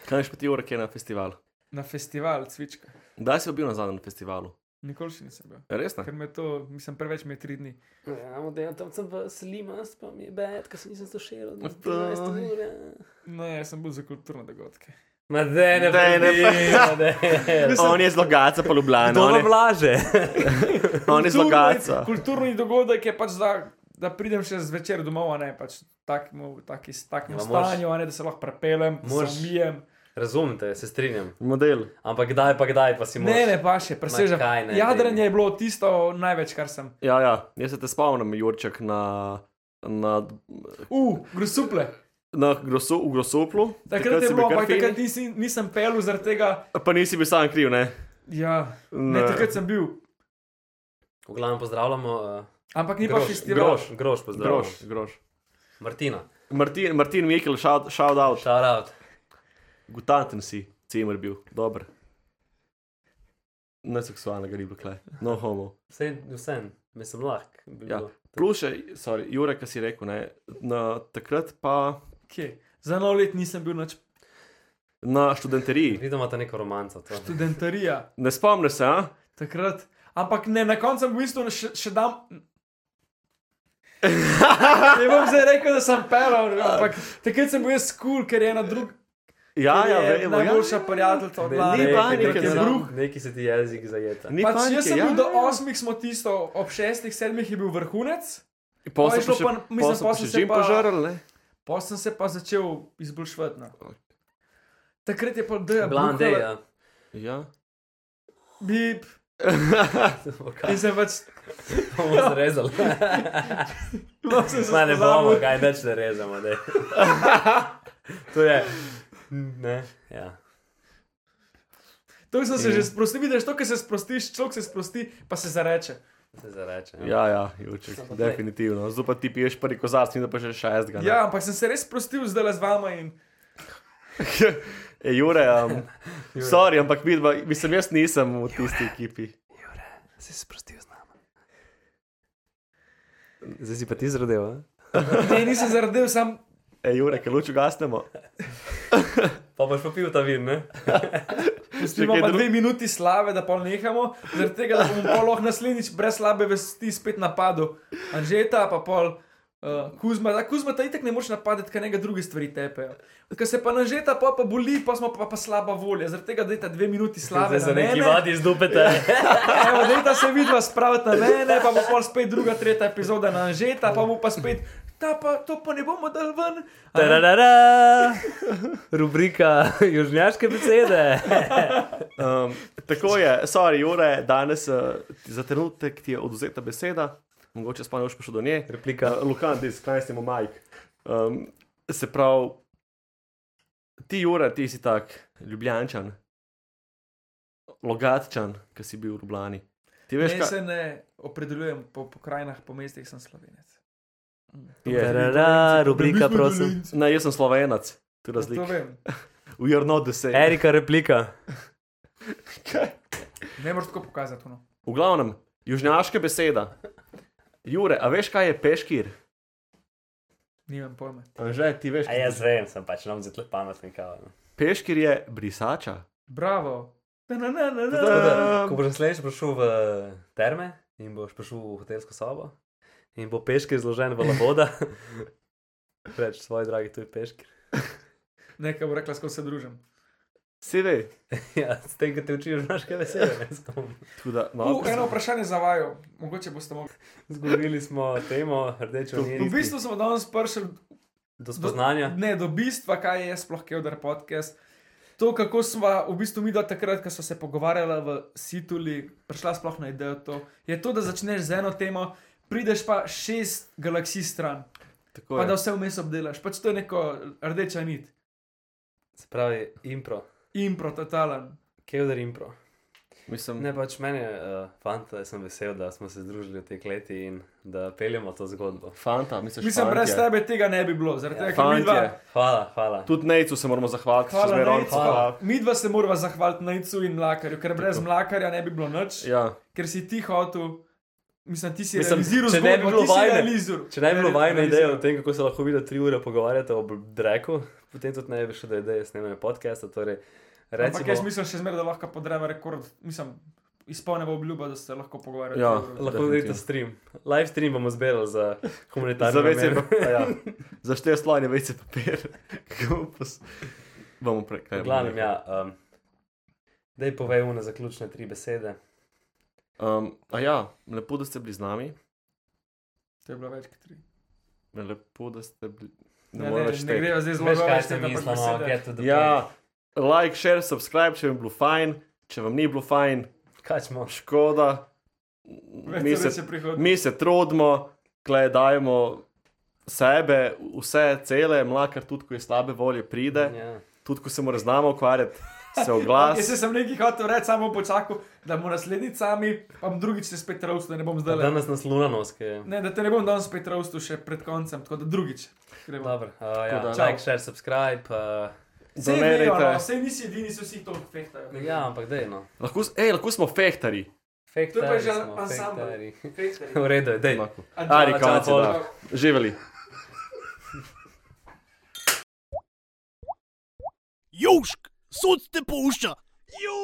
S4: Kaj še pa ti ura, ki je na festivalu?
S5: Na festival cvička.
S4: Kdaj si bil na zadnjem festivalu?
S5: Nikoli še nisem bil.
S4: Resno?
S5: Ker me to, mislim, preveč me je tri dni.
S3: Ja, model, tam sem v Slimas, pa mi je bed, ker se nisem zašel.
S4: Ma dvanajst daj. ur,
S5: Ne, jaz No, ja, sem bil za kulturne dogodke.
S3: Ma zdaj ne
S4: Daj, ne
S3: predi,
S4: pa-
S3: ma daj.
S4: On je zlogaca, pa Ljubljana. On, je-
S3: vlaže.
S4: on je zlogaca.
S5: Kulturni dogodek je pač, da, da pridem še zvečer domov, a ne pač takmo, taki, takim
S3: Ja, moraš-
S5: stanju, a ne da se lahko prepeljem,
S3: moraš-
S5: moraš mijem.
S3: Razumete, se strinjam.
S4: Model.
S3: Ampak kdaj pa kdaj pa si moraš?
S5: Ne, ne, pa še, presežem.
S3: kaj ne,
S5: Jadranje
S3: baby.
S5: je bilo tisto največ, kar sem.
S4: Ja, ja, jaz se te spomnim, Jurček na, na,
S5: Uh, grosuple.
S4: na grosu, v Grosoplu.
S5: Takrat je
S4: si bil
S5: bilo,
S4: kar
S5: ampak
S4: fin.
S5: takrat nisi, nisem pel zaradi tega.
S4: Pa nisi bil sam kriv, ne?
S5: Ja, ne,
S4: Ne.
S5: takrat sem bil.
S3: V glavnem pozdravljamo. Uh,
S5: Ampak ni pa
S3: groš,
S5: festival.
S3: groš, groš, pozdravljamo.
S4: Groš,
S3: Groš.
S4: groš.
S3: Martina,
S4: Martin, Martin Mikel, shout, shout out.
S3: shout out.
S4: Gutanten si, cimer bil, dober. Neseksualnega ni bilo, kaj. No homo.
S3: Vse, vse, mislim, lahko. bi
S4: Ja.
S3: bilo.
S4: Plus še, sorry, Jurek, ki si rekel, ne, na, takrat pa
S5: Kje? Za nov let nisem bil nič
S4: na študenteriji.
S3: Vidimo ta neko romanco. To.
S5: študentarija.
S4: Ne spomniš se, a?
S5: Takrat. Ampak ne, na koncu sem v bistvu še, še dam. Ne bom zdaj rekel, da sem pelal, ampak takrat sem bil jaz skul, cool, ker je ena druga.
S4: Ja, ja,
S5: je
S4: vemo.
S5: najboljša prijateljica od
S3: Ne,
S5: lani.
S4: ni
S5: takrat
S4: panike,
S5: je
S4: ne.
S5: druh.
S3: Neki se ti jezik zajeta.
S4: Ni
S5: Pač jaz sem
S4: ja,
S5: bil do
S4: ja, ja.
S5: osmih, smo tisto, ob šestih, sedmih je bil vrhunec,
S4: Pol
S5: Pa je
S4: so
S5: šlo
S4: še-
S5: pa-
S4: pol
S5: mislim,
S4: so
S5: pol
S4: pa
S5: so
S4: še
S5: se
S4: Jim
S5: pa-
S4: požrl, ne?
S5: potem sem se pa začel izboljšvati. No. Takrat je pa D,
S3: Blind day, ja.
S4: Ja.
S5: bip,
S3: Kaj
S5: in pač sem več,
S3: bomo
S5: Ja. [LAUGHS]
S3: zrezali? [LAUGHS]
S5: no, sem se
S3: Ma ne bomo,
S5: spoznal.
S3: kaj več ne rezamo. daj. [LAUGHS] to je. Ne. Ja.
S5: To sem se že sprostil, vidiš, to, kar se sprostiš, človek se sprosti, pa se zareče.
S3: Se zareče.
S4: Ja, ja, Jurček, definitivno. Zdaj pa ti piješ prvi kozarc, in da pa že šestega. ne.
S5: Ja, ampak sem se res sprostil zdaj z vama in
S4: E, Jure, um, sorry, ampak vidva, mislim, jaz nisem v tisti ekipi.
S3: Si se sprostil z nami. Zdaj si pa ti zradel, a?
S5: ne, nisem zaradil, sam
S4: E, Jure, kaj luč ugasnemo.
S3: Pa boš popil ta vin, ne?
S5: imam
S4: Čakaj,
S5: pa
S4: dru-
S5: dve minuti slave, da pa nehamo, zaradi tega, da bom pol lahko naslednjič brez slabe vesti spet napadel. Anžeta, pa pol. Uh, Kuzma, da Kuzma ta itek ne moreš napadati, ker nekaj druge stvari tepejo. Ker se pa nažeta, pa pa boli, pa smo pa, pa slaba volja. Zaradi tega, da je ta dve minuti slave.
S3: Zdaj se
S5: na
S3: neki
S5: mene.
S3: vadi iz dupete.
S5: [LAUGHS] Evo, dajta se vidva spraviti na mene, pa bo pol spet druga, tretja epizoda na Anžeta, pa bo pa spet, ta pa, to pa ne bomo dal ven. A ne?
S3: Tararara! Rubrika južnjaške besede.
S4: Um, tako je, sorry, Jure, danes uh, za trenutek ti je oduzeta beseda, mogoče sploh ne boš prišel do nje.
S3: Replika.
S4: Uh, Lukan, ti skrajšamo majk. Um, se pravi, ti, Jure, ti si tak ljubljančan, logatčan, ki si bil v Ljubljani. Ti veš,
S5: Ne,
S4: kaj
S5: se ne opredeljujem po pokrajinah, po mestih sem slovenec.
S4: je.
S3: Tarara, rubrika, prosim.
S4: Ne, jaz sem slovenac, tu
S5: Ja, To
S4: razlika.
S5: vem.
S4: We are not the same.
S3: Erika, replika.
S5: Ne moreš tako pokazati. No.
S4: V glavnem, južnjaška beseda. Jure, a veš, kaj je peškir?
S5: Nimam pojma.
S4: Že ti veš,
S3: A jaz vem, sem pač nam zelo pameten kaval.
S4: Peškir je brisača.
S5: Bravo. Na, na, na, na, na.
S4: Tako da-
S3: Ko boš naslednjič prišel v terme in boš prišel v hotelsko sobo in bo peški izložen v [LAUGHS] lavoda, reč svoj dragi, to je peški.
S5: Nekaj bo rekla, ko se družim.
S4: Sedaj,
S3: [LAUGHS] Ja, s tem, ko te učijo južnjaške besede, ne znam.
S4: tuda, no,
S5: Uh, eno vprašanje za vaju, mogoče boste mogli.
S3: Zgubili smo temo rdečo
S5: V
S3: nit
S5: bistvu smo danes prišli
S3: do
S4: Ja.
S5: do,
S3: spoznanja.
S5: ne, do bistva, kaj je sploh Kevdar podcast. To, kako smo v bistvu mi do takrat, ko smo se pogovarjali v Situli, prišla sploh na idejo to, je to, da začneš z eno temo, prideš pa šest galaksij stran,
S4: tako
S5: pa
S4: je.
S5: da vse vmes obdelaš. Pač to je neko rdeča nit,
S3: Se pravi, impro,
S5: impro totalen.
S3: kevdar impro.
S4: Mislim,
S3: Ne pač meni, uh, fanta, sem vesel, da smo se združili v teh letih in da peljemo to zgodbo.
S4: Fanta, misliš,
S5: Mislim,
S4: fantje.
S5: brez tebe tega ne bi bilo, zaradi
S3: Ja,
S5: tega, ker mi dva
S4: Fantje.
S3: Hvala, hvala.
S4: Tudi Nejcu se moramo zahvaliti, če
S5: Hvala,
S4: zmeraj on
S5: Nejcu.
S4: hvala.
S5: Mi dva se morava zahvaliti Najcu in Mlakarju, ker brez Mlakarja ne bi bilo nič, ja.
S4: Ja,
S5: ker si ti hotel, mislim, ti si
S3: Mislim,
S5: realiziral
S3: če ne bi
S5: zgodbo,
S3: bilo
S5: ti si
S3: vajne-
S5: realiziral.
S3: Če naj bi bilo
S5: Ne,
S3: vajno
S5: realiziral.
S3: idejo o tem, kako se lahko vidno tri ure pogovarjate o Dreku, potem tudi ne bi šlo do ideje snemanja podcasta. Torej,
S5: Ampak jaz
S3: recimo,
S5: mislim še zmeraj, da lahko podreva rekord, mislim, izpolneva obljuba, da se lahko pogovarjamo.
S4: Ja.
S3: lahko vidite
S4: Definitivno.
S3: stream. Live stream bomo zbirali za
S4: za
S3: humanitarno.
S4: vece papir. Ja. Za štiri slojne vece papir. [LAUGHS] Kako bomo pos- Bomo
S3: [LAUGHS]
S4: prekajali.
S3: V glavnem, ja. Um, Dej povej mu na zaključne tri besede.
S4: Um, a ja, lepo, da ste bili z nami.
S5: To je bilo več kot tri.
S4: Lepo, da ste bili. Ne,
S5: Ja,
S4: morem
S5: ne,
S4: več
S5: Ja, ne
S4: šteti.
S5: greva zdaj zelo
S3: Veš,
S5: dolgo,
S3: kaj
S5: več
S3: sem
S5: tega, ampak
S3: mislil, no,
S5: besede.
S3: get to the
S4: Ja, like, share, subscribe, če vam je bilo fajn, če vam ni bilo fajn,
S3: Kaj smo?
S4: škoda. Mi
S5: Več
S4: se,
S5: se prihodnji.
S4: mi se trudimo, gledajmo sebe, vse cele, mlakar tudi, ko je slabe volje, pride, yeah.
S3: Ja.
S4: tudi ko se mu ne znamo ukvarjati, se
S5: [LAUGHS]
S4: oglasi.
S5: Jaz sem nekaj hotel reči, samo počakal, da bom naslednjič sami, pa bom drugič se spet rovstu, da ne bom zdaj le.
S3: Danes nas luna noske.
S5: Ne, da te ne bom danes spet rovstu še pred koncem, tako da drugič. gremo.
S3: Dobro, uh, ja,
S4: da-
S3: like, share, subscribe. Uh,
S5: Sej
S4: Donerajte.
S5: vejo, no, sej nisi edini, so vsi to fehtajo.
S3: ja, ampak dej no.
S4: Lahko, s- ej, lahko smo fehtari.
S5: To je pa že
S3: Fektarji smo,
S5: ansambel.
S3: fektarji. [LAUGHS]
S5: Fehtajo.
S3: V redu je, dej.
S4: Enako.
S5: Adijo.
S4: Ari,
S3: Čau,
S4: konci,
S3: čau,
S4: da. Živeli.
S1: Južk, sod te pušča. Južk.